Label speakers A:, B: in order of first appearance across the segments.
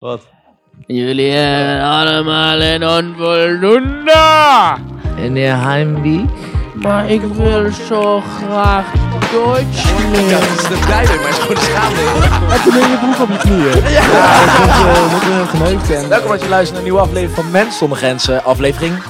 A: Wat?
B: Jullie hebben allemaal een onvoldoende in de heimweek. Maar ik wil zo graag Duits leren.
C: is er blij mee, maar is gewoon schaamde.
A: Toen ben je broek op je knieën. Ja, dat eh, moet heel geneukt zijn.
C: Welkom dat je luistert naar een nieuwe aflevering van Mens zonder Grenzen. Aflevering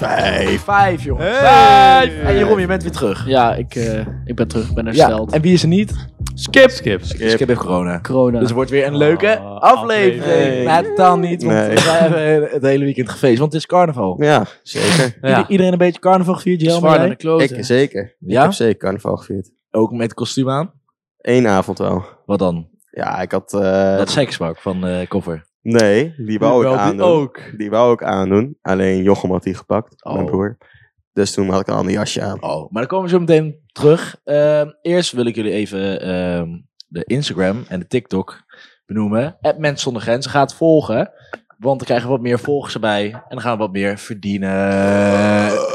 A: Nee.
C: 5, jongen.
A: Hey.
C: Vijf. En Jeroen, je bent weer terug.
B: Ja, ik, eh, ik ben terug, ik ben hersteld.
C: en wie is er niet?
A: Skip. Skip.
C: Dus ik heb even corona.
B: Corona.
C: Dus het wordt weer een leuke
A: Ah,
C: aflevering.
A: aflevering.
C: Nee, totaal niet, want
D: Nee.
C: wij hebben het hele weekend gefeest, want het is carnaval.
D: Ja, zeker.
C: Ieder-
B: ja,
C: Iedereen een beetje carnaval gevierd,
B: zwaar naar de
C: Jelma?
B: kloten.
D: Ik zeker. Ik
C: Ja?
D: heb zeker carnaval gevierd.
C: Ook met kostuum aan?
D: Eén avond wel.
C: Wat dan?
D: Ja, ik had... eh,
C: Dat sekspak van eh koffer.
D: Nee, die wou ik aandoen.
A: ook.
D: Die wou ik aandoen. Alleen Jochem had die gepakt, mijn
C: Oh.
D: broer. Dus toen had ik een ander jasje aan.
C: Oh, maar dan komen we zo meteen terug. Ehm, eerst wil ik jullie even ehm, de Instagram en de TikTok benoemen. App Mens Zonder Grenzen. Ga het volgen. Want dan krijgen we wat meer volgers erbij. En dan gaan we wat meer verdienen.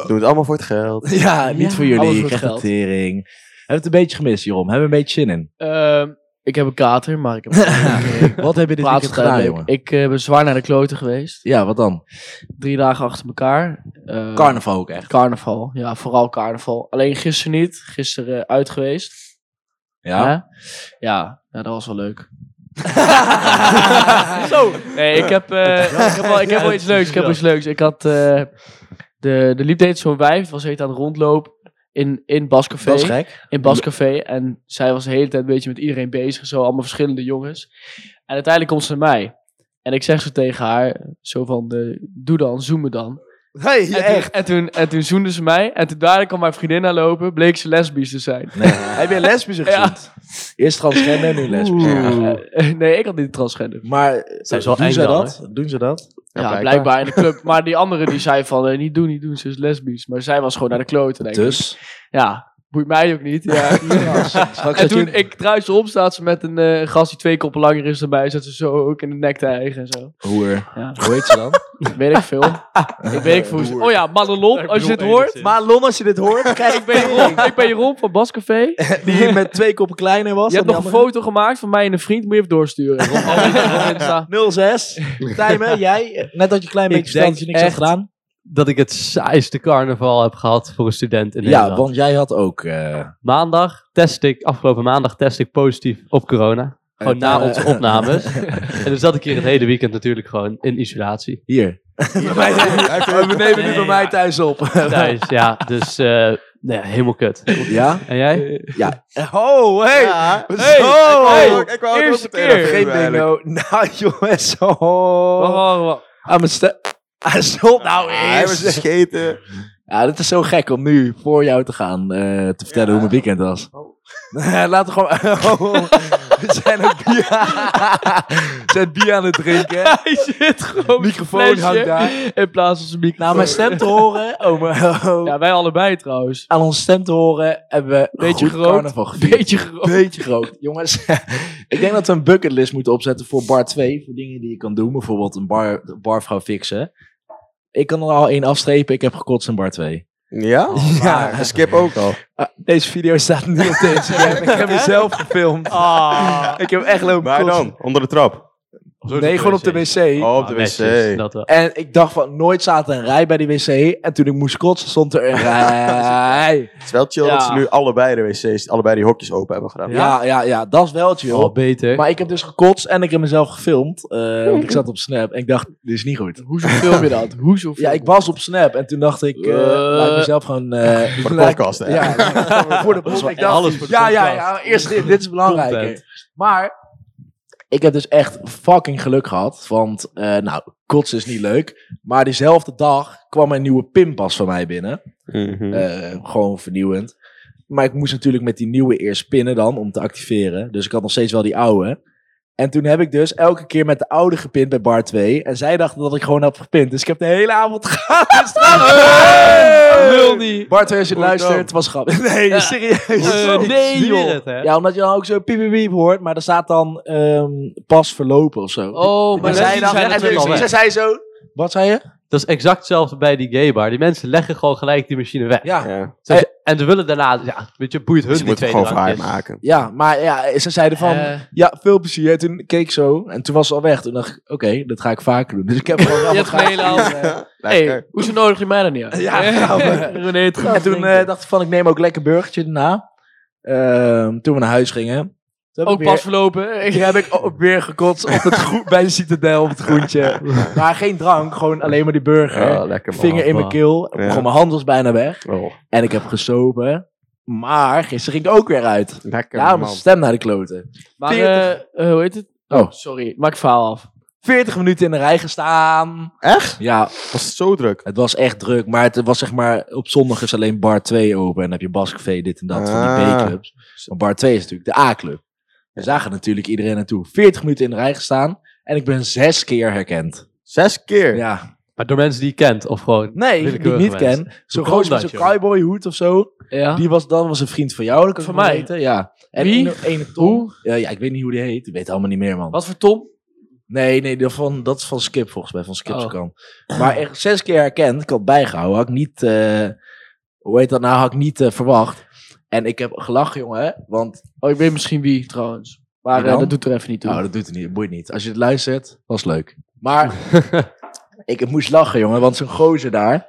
D: Doe het allemaal voor het geld.
C: Ja, niet
B: Ja,
C: voor
B: alles
C: jullie.
B: wordt
C: Krijg
B: geld.
C: de tering. Hebben we het een beetje gemist, Jeroen? Hebben we een beetje zin in?
B: Ehm, ik heb een kater, maar ik heb een
C: Wat heb je dit
B: plaats
C: weekend gedaan,
B: gedaan.
C: jongen?
B: Ik eh, ben zwaar naar de kloten geweest.
C: Ja, wat dan?
B: Drie dagen achter elkaar. Eh,
C: Carnaval ook echt.
B: Carnaval, ja, vooral carnaval. Alleen gisteren niet, gisteren eh, uit geweest.
C: Ja.
B: Hè? ja, ja, dat was wel leuk. Zo! Nee, ik heb, eh, ik heb, wel, ik heb wel iets leuks. Ik heb wel iets leuks. Ik had. eh de, de liep deed zo'n wijf, was heet aan het rondlopen. In, in Bascafé.
C: Dat is gek.
B: in Bascafé. En zij was de hele tijd een beetje met iedereen bezig. Zo, allemaal verschillende jongens. En uiteindelijk komt ze naar mij. En ik zeg zo tegen haar, zo van, eh, doe dan, zoem me dan.
D: Hey,
B: En toen, en, toen, en toen zoende ze mij. En toen daar kwam mijn vriendin aan lopen. Bleek ze lesbisch te zijn.
C: Heb je lesbische
B: Ja.
C: gezoend? Eerst transgender, nu lesbisch.
B: Eh, nee, ik had niet transgender.
C: Maar
A: is wel
C: doen,
A: eng
C: ze
A: dan,
C: dat? doen ze dat?
B: Ja, blijkbaar in de club. Maar die andere die zei van, eh, niet doen, niet doen, ze is lesbisch. Maar zij was gewoon naar de kloten, denk ik.
C: Dus?
B: Ja, boeit mij ook niet. Ja.
C: Straks
B: En
C: zet je
B: toen
C: een-
B: ik druis op, staat ze met een eh, gast die twee koppen langer is erbij. Zat ze zo ook in de nek te eigen en zo.
C: Hoer.
B: Ja.
C: Hoe heet ze dan?
B: Weet ik veel. ik weet ik veel. hoe ze- Oh ja, Madelon, als je dit hoort.
C: Lon, als je dit hoort, kijk,
B: Ik ben Jeroen, ik ben Jeroen van Bascafé.
C: die met twee koppen kleiner was.
B: Je hebt nog een foto gemaakt van mij en een vriend. Moet je even doorsturen. Op Insta.
C: 06. Tijmen, jij, net dat je een klein
A: Ik
C: beetje verstand
A: denk
C: dat je niks had
A: echt-
C: gedaan.
A: Dat ik het saaiste carnaval heb gehad voor een student in Nederland.
C: Ja, want jij had ook... eh,
A: Maandag test ik, afgelopen maandag test ik positief op corona. Gewoon
C: Eh,
A: na
C: eh,
A: onze opnames. en dan zat ik hier het hele weekend natuurlijk gewoon in isolatie.
C: hier. We nemen nu bij mij thuis op.
A: Thuis, ja. Dus eh, nou ja, helemaal kut.
C: Ja?
A: En jij?
C: Ja. Oh, hey.
D: Hey,
C: hey,
D: Oh, ik wou
B: eerste
D: meteen
B: keer.
D: even
C: Geen
D: doen eigenlijk.
C: bingo. Nou, jongens.
B: Wacht,
C: Oh.
B: wacht, wacht.
C: Aan mijn stem. Stop nou
D: Ah, Hij was
C: eens.
D: gescheten.
C: Ja, dat is zo gek om nu voor jou te gaan eh, te vertellen hoe mijn weekend was.
B: Oh.
C: Laten we gewoon... Oh, we zijn ook bier... we zijn bier aan het drinken.
B: Hij zit gewoon met zijn
C: Microfoon hangt
B: flesje
C: daar.
B: In plaats van zijn microfoon.
C: Nou, mijn stem te horen... Oh, maar- oh.
B: Ja, wij allebei trouwens.
C: Aan onze stem te horen hebben we een
B: Beetje
C: goed
B: gerookt.
C: carnaval gevierd.
B: Beetje groot.
C: Beetje groot. Jongens, ik denk dat we een bucketlist moeten opzetten voor bar 2. Voor dingen die je kan doen. Bijvoorbeeld een bar, barvrouw fixen. Ik kan er al één afstrepen. Ik heb gekotst in bar 2.
D: Ja?
C: Ja.
D: Ja. Oh, Skip ook al.
C: Ah, deze video staat nu op de Instagram. ik heb hem zelf gefilmd.
B: Ah.
C: Ik heb echt lopen
D: Maar
C: kotsen.
D: dan? Onder de trap.
C: Nee, gewoon op de wc.
D: Oh, op de
A: Ah,
D: wc.
A: netjes, dat wel.
C: En ik dacht van, nooit zaten een rij bij die wc. En toen ik moest kotsen, stond er een rij.
D: Het is wel chill dat
B: Ja.
D: ze nu allebei de wc's, allebei die hokjes open hebben gedaan.
C: Ja, ja, ja, dat is wel chill.
A: Al beter.
C: Maar ik heb dus gekotst en ik heb mezelf gefilmd. eh, want ik zat op Snap en ik dacht, dit is niet goed.
B: Hoezo film je dat? Hoezo film
C: Ja, ik was op Snap en toen dacht ik, eh,
B: Eh.
C: laat ik mezelf gewoon... eh,
D: Voor de
C: laat ik-
D: podcast, hè?
C: Ja, voor de podcast. Ik dacht,
A: Alles voor de
C: ja, ja,
A: podcast.
C: ja, eerst dit, dit is
A: Content.
C: belangrijker. Maar ik heb dus echt fucking geluk gehad. Want, eh, nou, kotsen is niet leuk. Maar diezelfde dag kwam een nieuwe pinpas van mij binnen.
D: Mhm.
C: Eh, gewoon vernieuwend. Maar ik moest natuurlijk met die nieuwe eerst pinnen dan, om te activeren. Dus ik had nog steeds wel die oude. En toen heb ik dus elke keer met de oude gepint bij bar 2. En zij dachten dat ik gewoon had gepint. Dus ik heb de hele avond gratis
B: Lul
C: hey!
B: niet.
C: Bar 2, als je
D: Goed
C: luistert,
D: dan.
C: het was grappig. Nee,
B: Ja.
C: serieus.
A: Eh,
B: nee,
A: ik zweer
B: joh.
A: het, hè.
C: Ja, omdat je dan ook zo piep piep piep hoort. Maar er staat dan ehm, pas verlopen of zo.
B: Oh, maar
A: Maar
C: En
A: zij
B: zij
A: dachten-
B: zijn
C: en
B: natuurlijk
A: al
C: toen-
A: weg.
C: zij zei zo... Wat zei je?
A: Dat is exact hetzelfde bij die gaybar. Die mensen leggen gewoon gelijk die machine weg.
C: Ja.
D: Ja.
A: Zodat je Eh, En ze willen daarna, ja, weet je, Dus- boeit hun
D: Dus je
A: die
D: moet het
A: tweede
D: gewoon voor haar
A: drankjes.
D: maken.
C: Ja, maar ja, ze zeiden van,
B: Eh.
C: ja, veel plezier. En toen keek ik zo en toen was ze al weg. Toen dacht ik, oké, dat ga ik vaker doen. Dus ik heb gewoon
B: Je hebt
C: graag-
B: gemeen al. hey, hoezo nodig je mij dan niet uit?
C: Ja, ja, maar-
B: René, het gaat
C: En toen
B: denken.
C: eh, dacht ik van, ik neem ook lekker burgertje daarna. Ehm, toen we naar huis gingen. Toen heb
B: Ook
C: ik weer-
B: pas verlopen.
C: Hier heb ik ook weer gekotst op het groen, bij de citadel op het groentje. Maar geen drank, gewoon alleen maar die burger.
D: lekker man.
C: Vinger in mijn
A: man.
C: keel,
D: Ja.
C: gewoon mijn hand was bijna weg.
D: Oh,
C: En ik heb gesopen. Maar gisteren ging ik ook weer uit.
D: lekker
C: Daarom is
D: man.
C: mijn stem naar de kloten.
B: Maar eh, eh, hoe heet het?
C: Oh.
B: Sorry, maak het verhaal af.
C: 40 minuten in de rij gestaan.
D: Echt?
C: Ja,
D: Was het zo druk?
C: het was echt druk. Maar het was zeg maar, op zondag is alleen bar 2 open. En dan heb je Bascafé, dit en dat, van die
D: Ah.
C: B-clubs. Maar bar 2 is natuurlijk de A-club. Dus daar gaat natuurlijk iedereen naartoe. 40 minuten in de rij gestaan. En ik ben zes keer herkend.
D: Zes keer?
C: Ja,
A: Maar door mensen die je kent, of gewoon...
C: Nee, die ik
A: Willekeurige
C: niet
A: mensen.
C: ken. Zo'n
A: kan
C: gozer met
A: dat,
C: zo'n
A: joh?
C: cowboy hoed of zo.
B: Ja.
C: Die was dan was een vriend van jou. Dat kan
B: Van
C: ik wel
B: mij?
C: Weten. Ja. En
B: Wie?
C: Ene, ene Tom. Eh, ja, ik weet niet hoe die heet. Ik weet het allemaal niet meer, man.
B: Wat voor Tom?
C: Nee, nee, dat, van, dat is van Skip volgens mij. Van Skip's
B: Oh.
C: kant. Maar echt zes keer herkend. Ik had bijgehouden. Had ik niet... eh, hoe heet dat nou? Had ik niet eh, verwacht. En ik heb gelachen, jongen. Want...
B: Oh, ik weet misschien wie trouwens.
C: Wie
B: Maar eh,
C: dan?
B: dat doet er even niet toe.
C: Nou, dat doet het niet. Boeit niet. Als je het luistert, was leuk. Maar ik moest lachen, jongen, want zo'n gozer daar.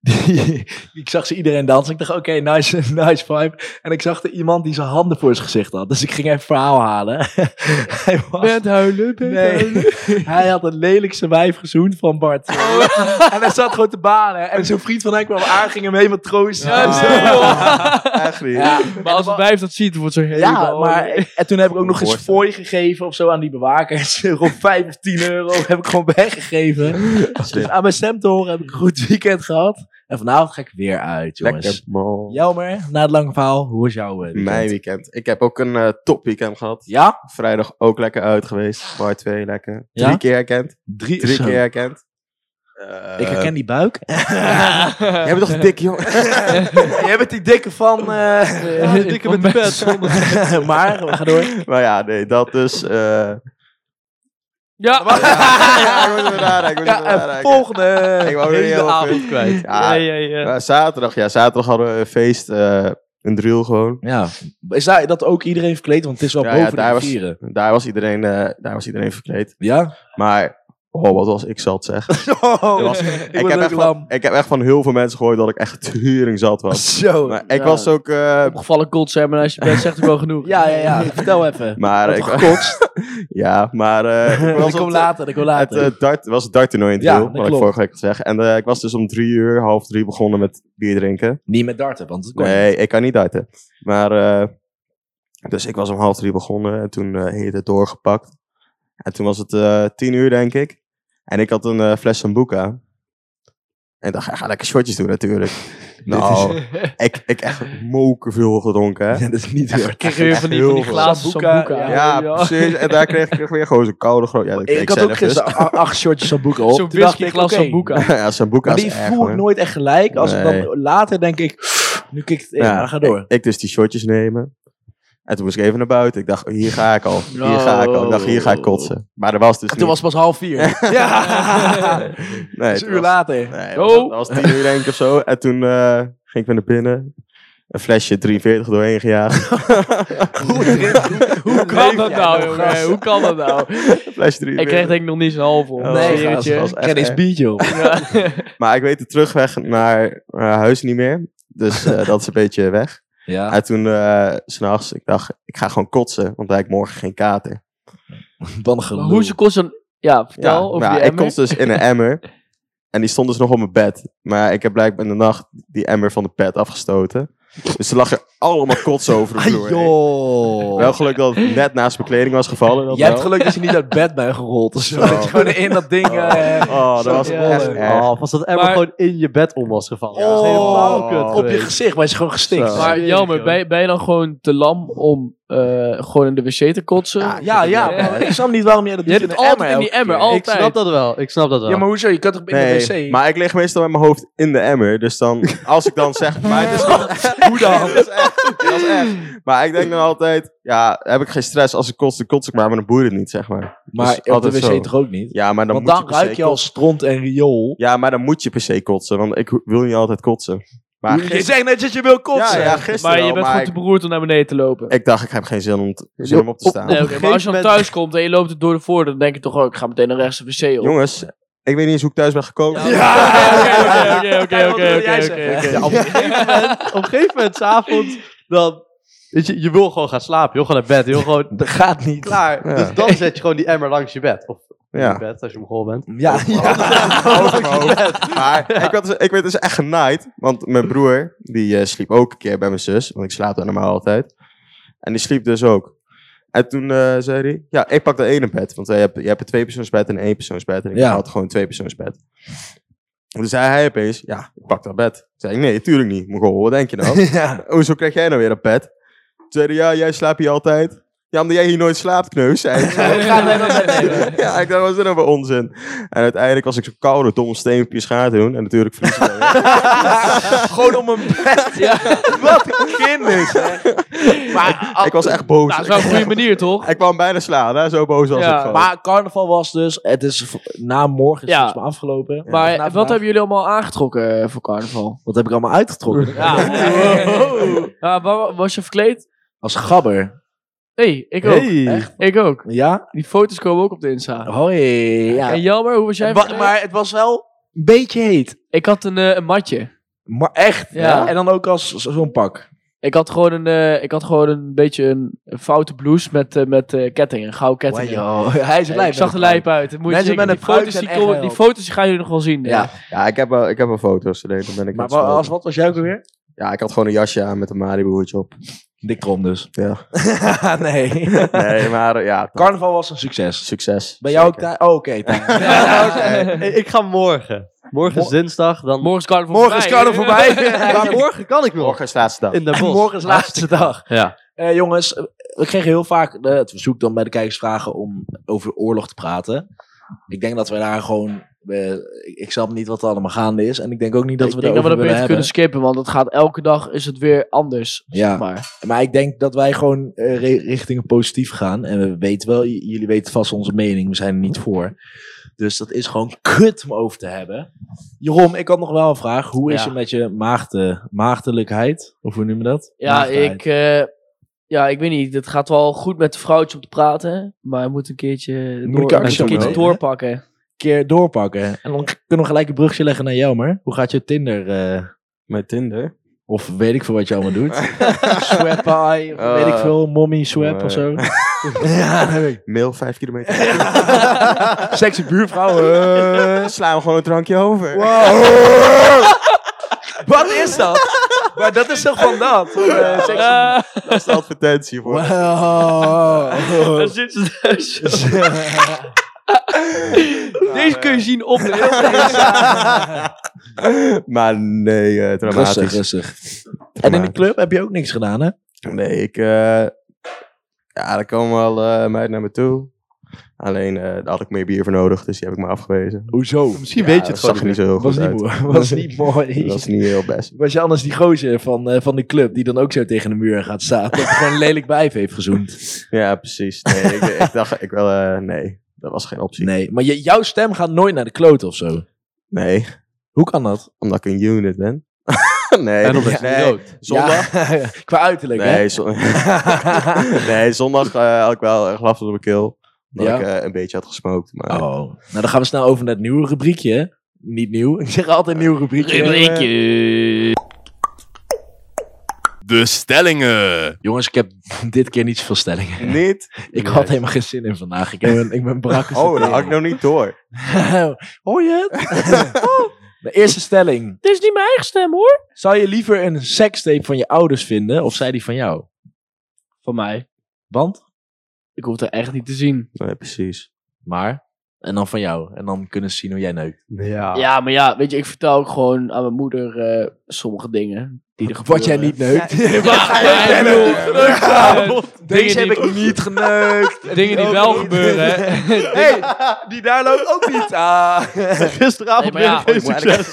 C: Die, ik zag ze iedereen dansen. Ik dacht, oké, nice, nice vibe. En ik zag er iemand die zijn handen voor zijn gezicht had. Dus ik ging even verhaal halen. hij, was,
B: huilen, bent
C: nee, hij had het lelijkste wijf gezoend van Bart.
B: Oh.
C: en hij zat gewoon te banen. En zo'n vriend van hem kwam aan, ging hem helemaal troosten.
B: Ja,
C: En zo.
B: nee, joh.
D: Echt niet.
C: Ja.
B: Maar als het wijf dat ziet, wordt zo helemaal...
C: Ja, maar en toen heb ik ook nog eens
D: Hoort.
C: fooi gegeven of zo aan die bewakers. Rond 5 of 10 euro heb ik gewoon weggegeven. Dus aan mijn stem te horen heb ik een goed weekend gehad. En vanavond ga ik weer uit, jongens.
D: Lekker man.
C: Jelmer, na het lange verhaal, hoe was jouw eh, weekend?
D: Mijn weekend. Ik heb ook een top weekend gehad.
C: Ja?
D: Vrijdag ook lekker uit geweest. Bar 2 lekker.
C: Ja?
D: Drie keer herkend.
C: Drie,
D: Drie
C: zo.
D: keer herkend. Eh,
C: Ik herken die buik.
D: Jij bent toch dik, jongen?
C: Jij bent die dikke van... eh,
A: Ja, de dikke met de pet. zonder-
C: maar, we gaan door.
D: maar ja, nee, dat dus. eh ja,
B: Ja.
D: ja, ik moet even nadenken. Ik moet
C: Ja,
D: even
C: en
D: nadenken.
C: volgende.
D: Ik wou er niet
A: Hele
D: heel veel-
A: avond kwijt.
D: Ja,
B: Ja, ja, ja.
D: maar zaterdag. Ja, zaterdag hadden we een feest. eh een drill gewoon.
C: Ja, is daar, dat ook iedereen verkleed? Want het is wel
D: Ja, ja,
C: boven
D: daar
C: de
D: was-
C: rivieren.
D: Daar was iedereen, eh, daar was iedereen verkleed.
C: Ja?
D: Maar, oh, wat was ik zat, zeg.
C: Oh,
D: was-
C: ik,
D: ik,
C: word
D: heb
C: ook
D: echt
C: lam.
D: van, ik heb echt van heel veel mensen gehoord dat ik echt tering zat was.
C: Zo.
D: Maar ik
B: Ja.
D: was ook... eh,
B: Opgevallen kots, maar als je bent, zegt ook wel genoeg.
C: ja, ja, ja. Vertel even.
D: maar
C: Wat
D: ik,
C: gekotst.
D: ja, maar... eh, ik
C: Ik
D: was
C: kom
D: op-
C: later, ik kom
D: Het
C: later.
D: eh, dart, was het darttoernooi in
C: Ja,
D: Driel,
C: dat
D: wat ik
C: klopt.
D: vorige week had gezegd. En eh, ik was dus om drie uur, half drie begonnen met bier drinken.
C: niet met darten, want het kon niet.
D: Nee, ik kan niet darten. Maar, eh, dus ik was om half drie begonnen en toen eh heet het doorgepakt. En toen was het eh, tien uur, denk ik. En ik had een eh, fles Sambuca. En dacht, ga lekker shotjes doen natuurlijk. nou, ik, ik echt moker veel gedronken, hè.
C: Ja, dat is niet
D: Echt-
C: weer.
B: Kreeg je weer van die, van die
D: Heel
B: glazen
C: veel. Sambuca,
B: sambuca.
D: Ja, precies. En daar kreeg ik weer gewoon zo'n koude groot. Ja, dat kreeg
C: Ik had
D: zelf
C: ook
D: dus.
C: gisteren a- acht shortjes Sambuca op.
B: Zo'n
C: Toen dacht ik,
B: whiskyglas
C: oké,
B: sambuca.
D: ja, Sambuca
C: Maar
D: is
C: die
D: erg,
C: voel
D: hoor.
C: ik nooit echt gelijk. Als ik
D: Nee.
C: dan later denk ik, nu kijk ik het in,
D: Ja,
C: maar ga door.
D: Ik, ik dus die shotjes nemen. En toen moest ik even naar buiten. Ik dacht, hier ga ik al. Hier ga ik al. Ik dacht, hier ga ik kotsen. Maar er was dus
C: En toen was
D: niet.
C: het pas half vier. ja,
D: nee,
C: dat is
D: toen
C: een uur
D: was-
C: later.
D: Nee,
B: Oh.
D: dat was tien uur denk ik of zo. En toen eh, ging ik weer naar binnen. Een flesje 43 doorheen gejaagd.
B: Hoe kan
C: leef
B: dat
C: jij
B: nou,
C: nou,
B: jongen?
C: gast?
B: Hoe kan dat nou?
D: flesje 43.
B: Ik kreeg denk ik nog niet zo half op.
D: Oh,
C: nee,
D: serieus,
C: gast,
D: dat
C: ik
D: was echt
C: ken eens
D: erg.
C: biertje op.
B: Ja.
D: Maar ik weet de terugweg naar eh, huis niet meer. Dus eh, dat is een beetje weg.
C: Ja,
D: En toen, eh, s s'nachts, ik dacht, ik ga gewoon kotsen. Want dan heb ik morgen geen kater.
C: dan
B: Maar
C: geloof.
B: Hoe ze kost een... Ja, vertel
D: Ja,
B: over
D: maar
B: die
D: ik
B: emmer.
D: kon dus in een emmer. En die stond dus nog op mijn bed. Maar ik heb blijkbaar in de nacht die emmer van de pet afgestoten. Dus er lag er allemaal kots over de
C: Ah,
D: vloer.
C: joh.
D: Wel geluk dat het net naast mijn kleding was gevallen. Dat
C: Jij hebt
D: wel.
C: geluk dat je niet uit bed bent gerold of zo.
D: Zo.
C: Dat je gewoon in dat ding... eh,
D: Oh, dat was
C: Ja.
D: echt erg.
A: Oh, was dat Emma
B: Maar-
A: gewoon in je bed om was gevallen.
C: Oh,
A: Dat is helemaal kut
C: op je
A: geweest.
C: gezicht, maar je is gewoon gestinkt.
D: Zo.
B: Maar
A: Jeetje,
B: jammer,
A: joh.
B: ben, je- ben je dan gewoon te lam om eh, gewoon in de wc te kotsen?
D: Ja,
C: Ja, ja,
B: Ja.
C: maar ik snap niet waarom jij dat
B: Je
C: doet
B: doet
C: in
B: het
C: een
B: altijd in
C: emmer
B: die
C: elke
B: emmer,
C: keer.
B: altijd.
A: Ik snap dat wel. Ik snap dat wel.
C: Ja, maar hoezo? Je kan toch in de
D: Nee,
C: wc?
D: maar ik lig meestal met mijn hoofd in de emmer. Dus dan, als ik dan zeg... Maar het is Hoe dan? Dat is echt. Dat is echt. Maar ik denk dan altijd... Ja, heb ik geen stress. Als ik kots, dan kots ik maar. Maar dan boeit het niet, zeg maar.
C: Maar
D: Dus
C: op de
D: altijd
C: wc
D: zo.
C: toch ook niet?
D: Ja, maar dan
C: Want
D: moet
C: dan
D: je dus per se
C: ruik je al stront en riool.
D: Ja, maar dan moet je per se kotsen, want ik ho- wil niet altijd kotsen. Maar
C: je
D: gisteren,
C: zegt net dat je wil kotsen.
D: ja, ja, gisteren
B: maar je
D: wel,
B: bent gewoon te
D: ik,
B: beroerd om naar beneden te lopen.
D: ik dacht, ik heb geen zin om, t- zin om op te
A: op-
D: staan.
B: nee, oké,
A: een
B: maar als je dan
A: gegeven
B: thuis komt en je loopt het door de voordeur, dan denk je toch ook, ik ga meteen naar rechts de wc op.
D: Jongens, ik weet niet eens hoe ik thuis ben gekomen.
C: Ja.
B: Ja, oké, oké, oké,
C: Kijk, wat
B: oké,
C: wil jij
B: oké,
C: zeggen?
B: oké, oké.
A: Ja, op een gegeven moment, op een gegeven moment, s'avonds, dan... Weet je, je wil gewoon gaan slapen, je wil gewoon naar bed, je wil gewoon...
C: Dat gaat niet.
A: Klaar.
D: Ja.
A: Dus dan zet je gewoon die emmer langs je bed. Of ja. je
D: Ja.
A: bed, als je omhoog bent.
C: Ja, ja.
D: Over mijn hoofd. Maar ik, had dus- ik werd dus echt genaaid. Want mijn broer, die eh, sliep ook een keer bij mijn zus. Want ik slaap daar normaal altijd. En die sliep dus ook. En toen eh, zei hij, ja, ik pak de ene bed. Want jij hebt, jij hebt een tweepersoonsbed en een eenpersoonsbed. En ik
C: Ja.
D: had gewoon een tweepersoonsbed. En toen zei hij opeens, ja, ik pak dat bed. Toen zei ik, nee, tuurlijk niet. Moet gewoon, wat denk je nou?
C: ja.
D: Hoezo krijg jij nou weer dat bed? Toen zei hij, ja, jij slaapt hier altijd. Ja, omdat jij hier nooit slaapt, kneus. Zei ik. Ja, ik dacht, wat is dit nou voor onzin? En uiteindelijk was ik zo koude, domme steen op je schaar te doen. En natuurlijk verlies ik dan weer.
C: Gewoon om een bed. Wat een kind is, hè. Maar,
D: Ik was echt boos.
B: Nou, dat is wel een goede manier, toch?
D: Ik kwam bijna slaan, hè? zo boos was
B: Ja,
D: ik gewoon.
C: maar carnaval was dus... Het is v- na morgen is
B: Ja.
C: het volgens mij afgelopen.
B: Maar
C: Of na
B: wat
C: vandaag.
B: hebben jullie allemaal aangetrokken eh, voor carnaval?
C: Wat heb ik allemaal uitgetrokken?
B: Ja, Ah, was je verkleed?
C: Als gabber.
B: Nee, ik ook.
A: Hey.
B: Ik ook.
C: Ja?
B: Die foto's komen ook op de Insta.
C: Hoi. Ja.
B: En jammer, hoe was jij
C: Wa-
B: verkleed?
C: maar het was wel een beetje heet.
B: Ik had een, eh, een matje.
C: Maar echt.
B: Ja.
C: Ja. En dan ook als zo- zo'n pak.
B: Ik had gewoon een, eh, ik had gewoon een beetje een, een foute blouse met, eh, met eh, kettingen, gouden kettingen.
C: Wow, joh. Hij is
B: En
C: lijp.
B: ik zag de lijp uit. dat Moet je
C: Mensen
B: zeker-
C: met een
B: die
C: pruik
B: foto's,
C: zijn
B: die,
C: echt
B: komen-
C: heel
B: die foto's die gaan jullie nog wel zien.
C: Ja.
B: ja.
D: Ja, ik heb wel, ik heb wel foto's. Nee, dan ben ik
C: Maar
D: aan het
C: wa- als
D: schelden.
C: wat was jij ook alweer?
D: Ja, ik had gewoon een jasje aan met een Malibu-hoedje op.
C: Dik Trom dus.
D: Ja.
C: nee.
D: Nee, maar ja, dat-
C: Carnaval was een succes.
D: succes.
C: Bij jou ook
D: Zeker.
C: daar? Oh, oké. daar.
A: Eh, Hey, ik ga morgen. Morgen is dinsdag, dan...
B: Morgen is carnaval
C: Morgen is
B: voorbij.
C: carnaval voorbij.
A: Maar morgen kan ik nog.
D: Morgen is de laatste dag.
A: In de bos.
C: Morgen is laatste dag.
A: Ja.
C: Eh, jongens, eh, we kregen heel vaak eh, het verzoek dan bij de kijkers vragen om over oorlog te praten. Ik denk dat we daar gewoon... eh, ik, ik snap niet wat er allemaal gaande is. En ik denk ook niet dat
B: ik
C: we
B: denk dat we
C: daarover
B: dat beter
C: willen hebben.
B: kunnen skippen, want het gaat elke dag is het weer anders.
C: Ja.
B: Zeg maar.
C: Maar ik denk dat wij gewoon eh, re- richting een positief gaan. En we weten wel, j- jullie weten vast onze mening. We zijn er niet voor. Dus dat is gewoon kut om over te hebben. Jeroen, ik had nog wel een vraag. Hoe is
B: Ja.
C: het met je maagde, maagdelijkheid? Of hoe noem je dat?
B: Ja,
C: Maagdheid.
B: ik, eh, ja, ik weet niet. Het gaat wel goed met de vrouwtje om te praten, maar hij moet een keertje,
C: Moet
B: door,
C: ik actie
B: moet een keertje
C: ondernemen, hè?
B: doorpakken.
C: keer doorpakken. En dan k- kunnen we gelijk een brugje leggen naar Jelmer. Hoe gaat je Tinder? eh,
D: Met Tinder?
C: of weet ik veel wat je allemaal doet. Swap eye, of weet ik
D: Eh,
C: veel. Mommy swap of zo. ja, dat heb ik.
D: Mail vijf kilometer.
C: Sexy buurvrouw.
D: Eh, slaan we gewoon een drankje over.
C: Wat is dat? Maar dat is toch van dat? Eh, sexy-
B: Ah,
D: Dat is de advertentie voor.
C: Wow.
B: daar zit ze thuis. Deze kun je zien op de
D: maar nee, eh dramatisch.
C: rustig, rustig. En in de club heb je ook niks gedaan, hè?
D: Nee, ik... eh, ja, er komen wel eh meiden naar me toe. Alleen, eh, daar had ik meer bier voor nodig, dus die heb ik maar afgewezen.
C: Hoezo?
A: Misschien
D: Ja,
A: weet je
D: dat
A: het gewoon
D: zag
A: niet
D: er
A: meer.
C: Was
D: niet zo heel goed
C: niet,
D: uit.
C: mooi. was niet mooi.
D: Dat is niet heel best.
C: Was je anders die gozer van, eh, van de club die dan ook zo tegen de muur gaat staan? Dat hij gewoon lelijk bijf heeft gezoend.
D: Ja, precies. Nee, ik, ik dacht, ik wel... eh, nee, dat was geen optie.
C: Nee, maar je- jouw stem gaat nooit naar de kloot of zo.
D: Nee,
C: Hoe kan dat?
D: omdat ik een unit ben. nee,
A: En op het
D: nee. Zondag?
C: Ja, qua uiterlijk,
D: Nee, zon-
C: hè?
D: nee, zondag eh, had ik wel een glaf op mijn keel.
C: Ja.
D: Omdat ik eh, een beetje had gesmoked. Maar
C: oh. Nou, dan gaan we snel over naar het nieuwe rubriekje. hè? Niet nieuw. Ik zeg altijd nieuw rubriekje.
E: De stellingen.
C: Jongens, ik heb dit keer niet zoveel stellingen.
D: niet.
C: Ik had helemaal geen zin in vandaag. Ik, ben, ik ben brak. als
D: Oh,
C: de
D: dat had ik
C: tering.
D: nog niet door.
C: Hoor je het? Oh. De eerste stelling.
B: Dit is niet mijn eigen stem hoor.
C: Zou je liever een sekstape van je ouders vinden of zij die van jou?
B: Van mij.
C: Want?
B: Ik hoef het er echt niet te zien.
D: Nee, precies.
C: Maar? En dan van jou. En dan kunnen ze zien hoe jij neukt.
A: Ja.
B: Ja, maar ja, weet je, ik vertel ook gewoon aan mijn moeder eh, sommige dingen. Die er
C: Wat jij
B: gebeuren.
C: niet neukt.
B: Ja, ja, ik bedoel, eh,
C: Deze
B: dingen
C: heb
B: die-
C: ik niet geneukt.
B: Dingen die
C: ook
B: wel
C: niet.
B: gebeuren, hè.
C: Hey, die daar loopt ook niet. Ah.
A: Gisteravond
B: Nee, maar
A: weer
B: ja.
A: geen succes.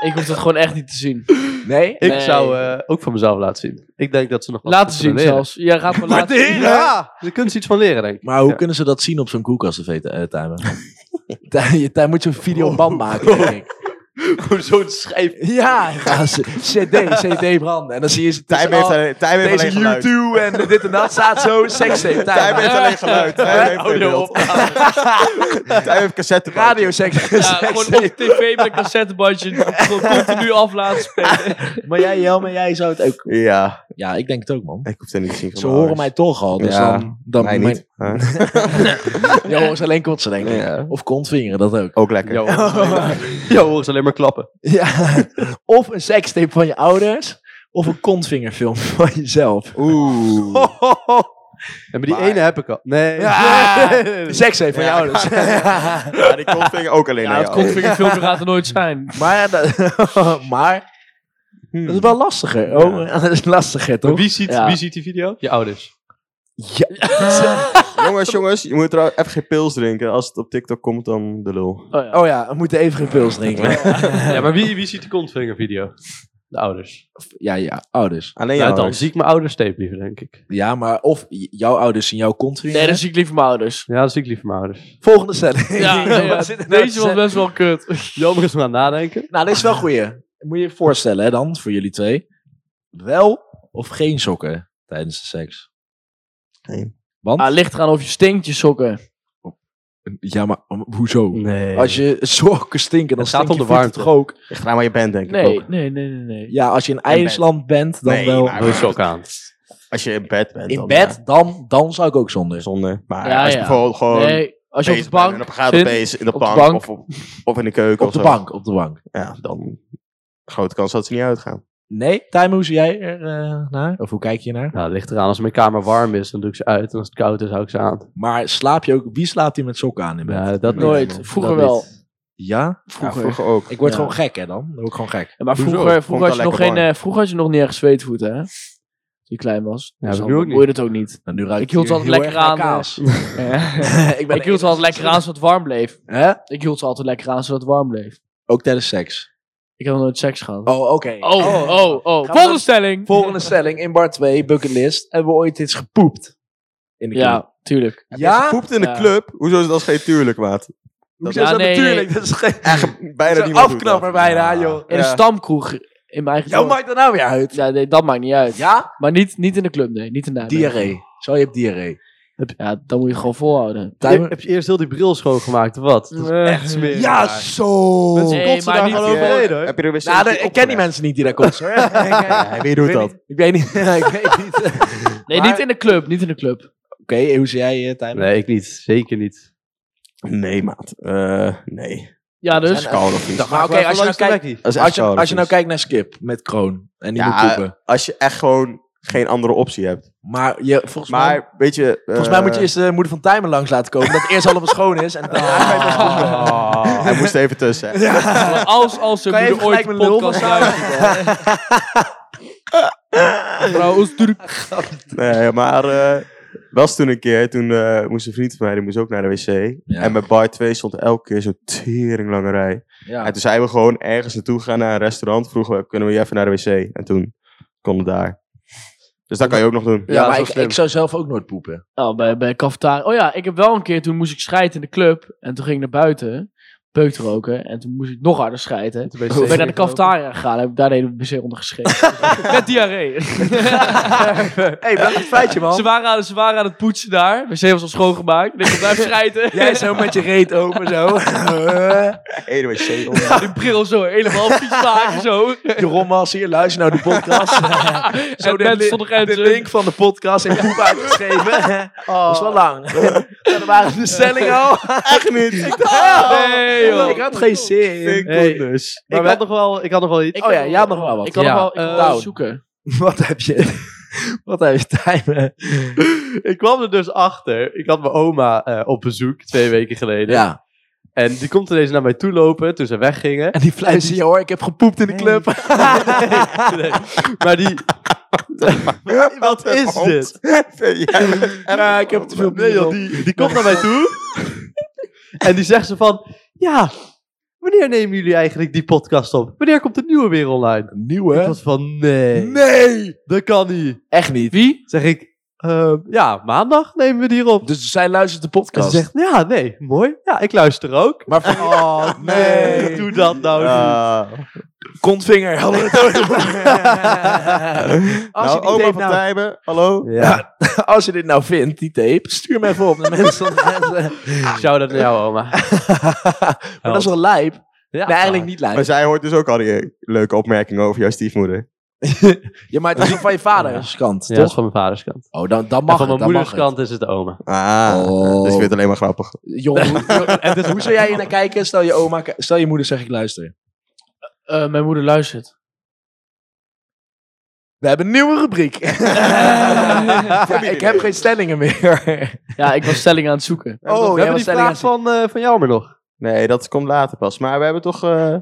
B: Ik hoef dat gewoon echt niet te zien.
C: Nee?
A: Ik
B: Nee.
A: zou eh, ook van mezelf laten zien. Ik denk dat ze nog wat
B: Laten
A: kunnen
B: zien
A: leren.
B: zelfs. Ja, gaat maar laten zien.
A: Ja, daar kunnen ze iets van leren, denk ik.
C: Maar hoe
A: Ja.
C: kunnen ze dat eh, zien op zo'n koelkast, timer? Daar moet je een videoband maken, denk ik.
A: Gewoon zo'n schijf.
C: Oh. Ja, ja ze- CD, CD branden. En dan zie je ze
D: Tijm
C: tussen
D: heeft,
C: al-
D: alleen- Tijm heeft
C: deze
D: alleen geluid.
C: YouTube en dit en dat staat zo. Sekstape,
D: Tijm heeft
C: Tijm.
D: alleen geluid. Tijm heeft geen
A: Audio
D: beeld.
A: op. Ja,
D: Tijm heeft cassette.
C: Radio seks.
B: gewoon op tv met een cassettebandje. Gewoon continu af laten spelen.
C: Maar jij, Jelme, jij zou het ook...
D: Ja,
C: Ja, ik denk het ook, man.
D: ik hoef het niet te zien van
C: Ze
D: mijn
C: horen mij
D: ouders.
C: toch al, dus
D: Ja,
C: dan... dan
D: Mij
C: mijn-
D: niet. Huh?
C: Jongens, alleen kotsen, denk ik.
D: Ja.
C: Of kontvingeren, dat ook.
D: Ook lekker.
A: hoor horen ze alleen maar klappen.
C: Ja. Of een sekstape van je ouders, of een kontvingerfilm van jezelf.
D: Oeh.
A: En maar die
D: Maar-
A: ene heb ik al. Nee.
C: Ja. Een sekstape van je
D: Ja.
C: ouders.
D: Ja, die kontvinger ook alleen
B: Ja,
D: naar
B: dat
D: jou.
B: configuurfilmpje gaat er nooit zijn.
C: Maar, dat, maar
D: Hmm.
C: dat is wel lastiger. Oh, dat is lastiger,
A: Maar
C: toch?
A: wie ziet,
B: Ja.
A: wie ziet die video? Je ouders.
C: Ja.
D: Jongens, jongens, je moet trouwens even geen pils drinken. Als het op TikTok komt, dan de lul.
B: Oh, ja.
C: Oh ja, we moeten even geen pils drinken.
A: Ja, maar wie, wie ziet die kontvinger video? De ouders.
C: Ja, ja, ouders.
D: Alleen
A: Ja,
D: jou.
A: dan zie ik mijn ouders tape liever, denk ik.
C: Ja, maar of j- jouw ouders zien jouw kontvinger.
B: Nee, dan zie ik liever mijn ouders.
A: Ja, dan zie ik liever mijn ouders.
C: Volgende stelling.
B: Ja,
C: Wat
B: nee, ja.
C: zit er nou te
B: deze was
C: zeggen?
B: best wel kut.
A: Jammer is nog aan het nadenken.
C: Nou, dit is wel een goeie. Moet je je voorstellen hè, dan, voor jullie twee. Wel of geen sokken tijdens de seks?
D: Geen.
C: Want?
B: Ah, ligt eraan of je stinkt je sokken.
C: Ja, maar om- hoezo?
A: Nee.
C: Als je sokken stinken, dan
A: Het gaat
C: staat
A: om
C: je
A: de
C: voeten
A: warmte.
C: toch ook.
D: Ligt eraan waar je bent, denk ik
B: Nee,
D: ook.
B: nee, nee, nee. nee.
C: Ja, als je in IJsland bent, dan
D: Nee,
C: wel.
D: maar-
A: Doe je sok aan.
D: Als je in bed bent,
C: In
D: dan,
C: bed,
D: ja,
C: dan, dan zou ik ook zonder.
D: Zonde. Maar
B: Ja,
D: als je
B: ja.
D: bijvoorbeeld gewoon...
B: Nee, als je op de
D: bezig bent
B: bank
D: Oh, en op gaat
B: zit,
D: opeens in de
B: op de
D: bank,
B: bank.
D: Of, op- of in de keuken
C: Op
D: of
C: de
D: zo.
C: bank, op de bank.
D: Ja, dan grote kans dat ze niet uitgaan.
C: Nee, Tijmen, hoe zie jij er eh, naar? Of hoe kijk je naar?
A: Nou, het ligt eraan. Als mijn kamer warm is, dan doe ik ze uit. En als het koud is, hou ik ze aan.
C: Maar slaap je ook, wie slaapt hier met sokken aan in bed? Ja?
A: Ja, dat
B: nooit.
A: niet.
B: Vroeger
A: Dat
B: wel.
A: niet.
D: Ja,
B: Vroeger.
D: vroeger ook.
C: Ik word
B: Ja.
C: gewoon gek, hè, dan? Dan word ik gewoon gek.
B: Ja, maar
D: Hoezo?
B: vroeger,
D: Vond
B: vroeger,
D: het
B: had je
D: wel
B: nog
D: lekker
B: geen,
D: warm.
B: eh, vroeger had je nog niet erg zweetvoeten, hè? Toen je klein was.
A: Ja,
B: dus
A: maar
B: dan
A: nu ook
B: hoor je dat ook niet.
C: Dan Nou, nu ruikt
B: Ik hield
C: het
B: wel
C: hier
B: lekker
C: heel erg
B: aan, eh.
C: naar kaas. ik
B: ik hield ze altijd lekker aan zodat het warm bleef.
C: Hè?
B: Ik hield ze altijd lekker aan zodat het warm bleef.
C: Ook tijdens seks.
B: Ik heb nog nooit seks gehad.
C: Oh, oké.
B: oh, oh. oh.
C: we
B: Volgende
C: dan-
B: stelling!
C: Volgende stelling in bar 2, bucketlist. Hebben we ooit iets gepoept? In de club?
B: Ja, tuurlijk.
D: Ze
C: Ja?
D: poept in de
B: Ja.
D: club. Hoezo is dat geen tuurlijk, maat?
C: Dat
B: Ja, nee,
C: natuurlijk.
B: nee.
C: Dat is geen
D: Echt bijna
C: Zo'n
D: niemand doet dat.
C: afknapper bijna,
D: Ja.
C: joh.
B: In
D: Ja.
B: een stamkroeg in mijn eigen
C: Jou
B: dorp.
C: maakt dat nou weer uit?
B: Ja, nee, dat maakt niet uit.
C: Ja?
B: Maar niet, niet in de club, nee. Niet in Nijmegen.
C: Diarree. Zo, je hebt diarree.
B: Ja, dan moet je gewoon volhouden.
A: Je,
C: Timer-
A: heb je eerst heel die bril schoongemaakt, of wat? Dat is
B: Eh.
A: echt smerig.
C: Ja, zo!
A: Mensen
B: Nee,
A: kotsen
B: maar
A: daar
B: niet-
A: gewoon
D: Heb je-
A: overheen, hoor.
D: Heb je er weer
C: Nou,
D: zin
C: de-
D: in
C: ik ken die
D: opgelegd?
C: mensen niet die daar komt. hoor.
D: Ja, wie doet
C: Ik weet
D: dat?
C: niet- Ik weet niet. ik weet niet. Oké,
B: Nee,
C: Maar-
B: niet in de club. Niet in de club.
C: hoe zie jij het Tijmen?
A: Nee, ik niet. Zeker niet.
D: Nee, maat. Eh, nee.
B: Ja, dus.
D: Dat is koud of niet.
C: Maar oké, als je nou kijkt...
D: Dat is echt
C: Als je,
D: koud of
C: als je nou
D: niet.
C: kijkt naar Skip met Kroon en die
D: Ja,
C: moet poepen.
D: Als je echt gewoon geen andere optie hebt.
C: Maar je, volgens, mij,
D: Maar, weet je...
C: volgens
D: eh,
C: mij moet je eerst de moeder van Timer langs laten komen. Dat eerst allemaal schoon is. En daarna kan je best poepen. Ah.
D: Oh, hij moest er even tussen. hè.
B: Maar als, als ze
C: Kan je
B: moeder
C: even
B: ooit
C: gelijk
B: een
C: mijn lul
B: podcast luisteren. Trouwens, Turk.
D: Nee, maar eh was toen een keer. Toen eh, moest een vriend van mij, die moest ook naar de wc.
C: Ja.
D: En bij bar 2 stond elke keer zo'n tering lange rij.
C: Ja.
D: En toen zijn we gewoon ergens naartoe gegaan naar een restaurant. Vroegen we, kunnen we hier even naar de wc? En toen kon het daar. Dus dat kan je ook nog doen.
C: Ja,
A: Ja, dat
C: maar
A: is
C: ik,
A: wel slim.
C: ik zou zelf ook nooit poepen.
B: Oh, bij, bij cafetaria. Oh ja, ik heb wel een keer, toen moest ik schijten in de club. En toen ging ik naar buiten, peuk te roken. En toen moest ik nog harder schijten. Toen ben ik naar de cafetaria gegaan en heb ik daar de hele wc onder gescheten. Met diarree.
C: Hé, hey, bedankt voor het feitje,
B: ze, waren aan, ze waren aan het poetsen daar. wc was al schoongemaakt. En ik kon blijven schijten.
C: Jij zo met je reet open, zo.
D: Eén wc. om.
B: Die bril zo helemaal vies maken zo. En
C: je rommas hier, luister nou de podcast. zo de,
B: mensen
C: li-
B: stonden grenzen.
C: de link van de podcast in poep uitgeschreven. Dat is wel lang. Dat waren de stellingen al.
D: Echt niet. Ik dacht,
B: Oh, Nee, joh.
C: Ik had geen zin.
D: ik
A: Hey,
D: kon dus.
A: Ik
C: wij-
A: had, nog wel, ik had nog wel iets.
B: Ik
C: Oh ja,
B: kan
C: jij had nog wel wat.
B: Ik kan
A: Ja,
B: nog wel ik kan
A: eh,
B: wel
C: down.
B: zoeken.
C: Wat heb je? Wat heb je timen?
A: ik kwam er dus achter. Ik had mijn oma eh, op bezoek twee weken geleden.
C: Ja.
A: En die komt ineens naar mij toe lopen toen ze weggingen.
C: En die fluistert je hoor, ik heb gepoept in de club.
A: Nee, maar die. Wat is dit?
C: Ja, eh, ik heb te veel
A: Nee, joh, die, die komt naar mij toe. en die zegt ze van: Ja, wanneer nemen jullie eigenlijk die podcast op? Wanneer komt de nieuwe weer online?
C: Nieuwe?
A: Ik was van: Nee,
C: Nee!
A: dat kan niet.
C: Echt niet.
B: Wie?
A: Zeg ik: "Eh, ehm, ja, maandag nemen we die op.
C: Dus zij luistert de
A: En ze
C: podcast.
A: zegt, ja, nee, mooi. Ja, ik luister ook.
C: Maar van-
A: Oh,
C: nee.
A: doe dat nou niet.
C: Oh,
D: Ah.
C: Kontvinger, hadden we het over. Als je
D: nou,
C: die
D: oma
C: tape
D: van
C: nou-
D: Tijmen, hallo?
A: Ja,
C: Als je dit nou vindt, die tape, stuur me even op naar mensen.
A: shout-out naar jou, oma.
C: maar dat is wel lijp.
A: Ja,
C: nee, eigenlijk niet lijp.
D: Maar zij hoort dus ook al die eh, leuke opmerkingen over jouw stiefmoeder.
C: Ja, maar het is ook van je vaders kant,
A: Ja, dat is
C: toch?
A: van mijn vaders kant.
C: Oh, dan, dan
A: Maar
C: mag
A: van
C: het,
A: mijn
C: dan
A: moeders
C: mag het.
A: kant is het oma.
D: Ah,
C: Oh.
D: dus ik vind het alleen maar grappig.
C: Jong, hoe, en dus hoe zou jij hier naar kijken? Stel je oma, stel je moeder zeg ik luister.
B: Eh, mijn moeder luistert.
C: We hebben een nieuwe rubriek. Ja, ik heb geen stellingen meer.
B: Ja, ik was stelling aan het zoeken.
C: Oh,
A: we
C: jij
A: hebben
C: was
A: die
C: stelling aan
A: vraag
C: het
A: van, eh, van jou maar nog.
D: Nee, dat komt later pas. Maar we hebben toch... eh,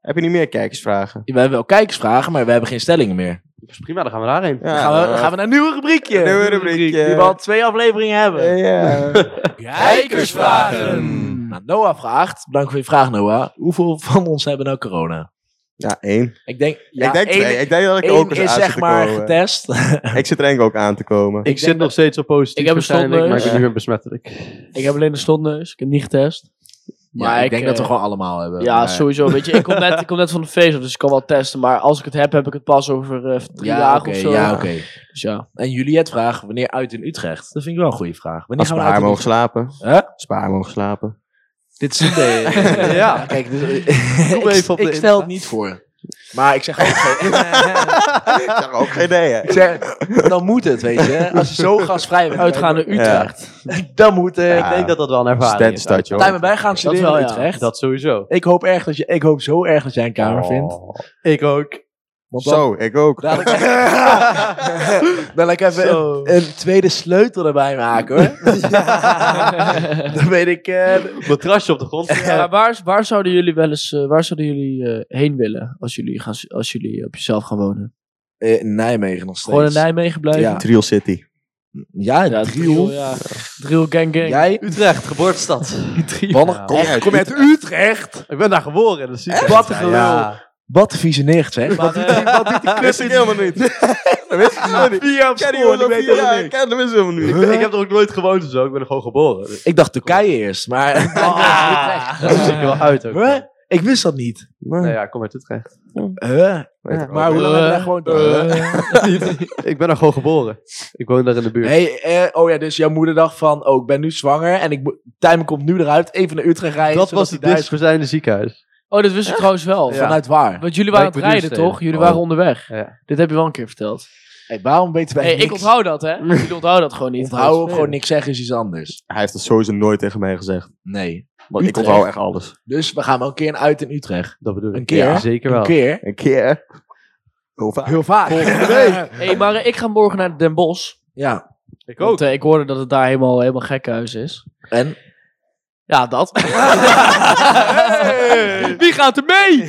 D: heb je niet meer kijkersvragen?
C: We hebben wel kijkersvragen, maar we hebben geen stellingen meer.
A: Dat is Prima, dan gaan we daarheen.
D: Ja,
C: gaan, we,
D: eh,
C: gaan we naar een nieuwe rubriekje.
D: nieuwe rubriekje.
C: Die we al twee afleveringen hebben.
D: Ja.
C: Kijkersvragen. Nou, Noah vraagt, bedankt voor je vraag Noah. Hoeveel van ons hebben nou corona?
D: ja, één.
C: Ik denk, ja,
D: ik denk
C: één-
D: twee. Ik denk dat ik er
C: één
D: ook eens
C: is
D: aan zit
C: zeg
D: te
C: maar
D: komen.
C: getest.
D: Ik zit er denk ik ook aan te komen.
A: Ik, zit
C: denk
A: nog steeds op positief
B: Ik heb een
A: waarschijnlijk, maar ik ben
B: stopneus.
A: nu weer besmettelijk.
B: Ik heb alleen een stondneus. Ik heb niet getest.
C: Maar ik, denk
B: eh,
C: dat we gewoon allemaal hebben.
B: Ja,
C: Maar-
B: sowieso. Weet je, ik kom net, ik kom net van de feest, dus ik kan wel testen. Maar als ik het heb, heb ik het pas over eh, drie
C: Ja,
B: dagen
C: oké.
B: of zo.
C: ja, oké.
B: Dus ja.
C: En Juliet vraagt wanneer uit in Utrecht. Dat vind ik wel een goede vraag. Wanneer
D: Als we haar
C: uit in
D: mogen slapen.
C: Huh?
D: Als we haar mogen slapen.
C: Dit is een
A: Ja.
C: Kijk, dus,
A: Kom
C: ik,
A: even op de
C: ik stel het
A: Insta.
C: niet voor. Maar ik zeg ook geen...
D: ik zag ook geen idee, hè.
C: ik zeg, dan moet het, weet je. Als je zo gastvrij bent.
B: Uitgaan naar Utrecht.
C: Dan moet het.
D: Ja.
A: Ik denk dat dat wel een ervaring is.
D: Stentenstad, joh.
C: Tijmen, wij gaan studeren
B: wel,
C: in
B: ja.
C: Utrecht.
A: Dat sowieso.
C: Ik hoop, erg dat je, ik hoop zo erg dat jij een kamer
A: Oh.
C: vindt.
A: Ik ook.
C: Want dan,
D: Zo, ik ook.
C: Dan wil ik even een,
A: Zo.
C: een tweede sleutel erbij maken, hoor. Dan weet ik... eh,
A: Matrasje op de grond.
B: Maar waar, waar zouden jullie wel eens eh, waar zouden jullie eh, heen willen als jullie, gaan, als jullie op jezelf gaan wonen?
C: eh, in Nijmegen nog steeds.
B: Gewoon in Nijmegen blijven?
C: Ja.
D: Trial City.
C: Ja, in
B: Ja,
C: Driel.
B: drill, ja. Drill gang gang.
C: Jij?
A: Utrecht, geboortestad.
C: Wanneer
D: Kom je uit
C: kom je uit Utrecht?
A: Ik ben daar geboren in de ziekenhuis.
C: Wat een gelul. Wat een vieze nicht, zeg.
A: Maar, eh,
D: Dat wist ik helemaal niet. Dat wist ik helemaal niet.
C: Vier op
D: Ik ken die jongen al vier jaar. Ik ken hem is helemaal
A: ik,
D: niet.
A: ben- ik heb er ook nooit gewoond en zo. Ik ben er gewoon geboren. Dus-
C: Ik dacht Turkije eerst, maar...
A: Ah, dat zie ik er wel uit ook.
C: Huh? Ik wist dat niet.
A: Nou ja, kom uit Utrecht.
C: Huh?
D: Weet ik
C: Maar
D: ook
C: hoe lang
B: Eh,
C: hebben we daar gewoon door?
A: ik ben er gewoon geboren. Ik woon daar in de buurt.
C: Hey, eh, oh ja, dus jouw moeder dacht van, oh, ik ben nu zwanger en ik moet- Tijmen komt nu eruit, even naar Utrecht rijden.
A: dat
C: zodat
A: was
C: hij
A: het
C: daar is.
A: dichtstbijzijnde ziekenhuis.
B: Oh, dat wist ik trouwens wel.
A: Ja.
C: Vanuit waar?
B: Want jullie waren aan
A: Bij
B: het rijden,
A: Brunstede.
B: toch? Jullie
A: Oh.
B: waren onderweg.
A: Ja.
B: Dit heb je wel een keer verteld.
C: Hey, waarom weten wij
B: Hey,
C: niks?
B: ik onthoud dat, hè? Jullie onthouden dat gewoon niet.
C: Onthouden of
A: spelen.
C: gewoon niks zeggen is iets anders.
D: Hij heeft dat sowieso nooit tegen mij gezegd.
C: Nee.
D: Want ik
C: Utrecht.
D: onthoud echt alles.
C: Dus we gaan wel een keer een uit in Utrecht.
A: Dat bedoel ik.
C: Een keer?
A: Ja, zeker
C: Een
A: wel.
C: keer.
D: Een keer. Hoe vaak?
C: Heel vaak.
B: hey, maar eh, ik ga morgen naar Den Bosch.
C: Ja.
A: Ik
B: Want, eh, ik hoorde dat het daar helemaal, helemaal gekhuis is.
C: En?
B: Ja, dat. Wie gaat er mee?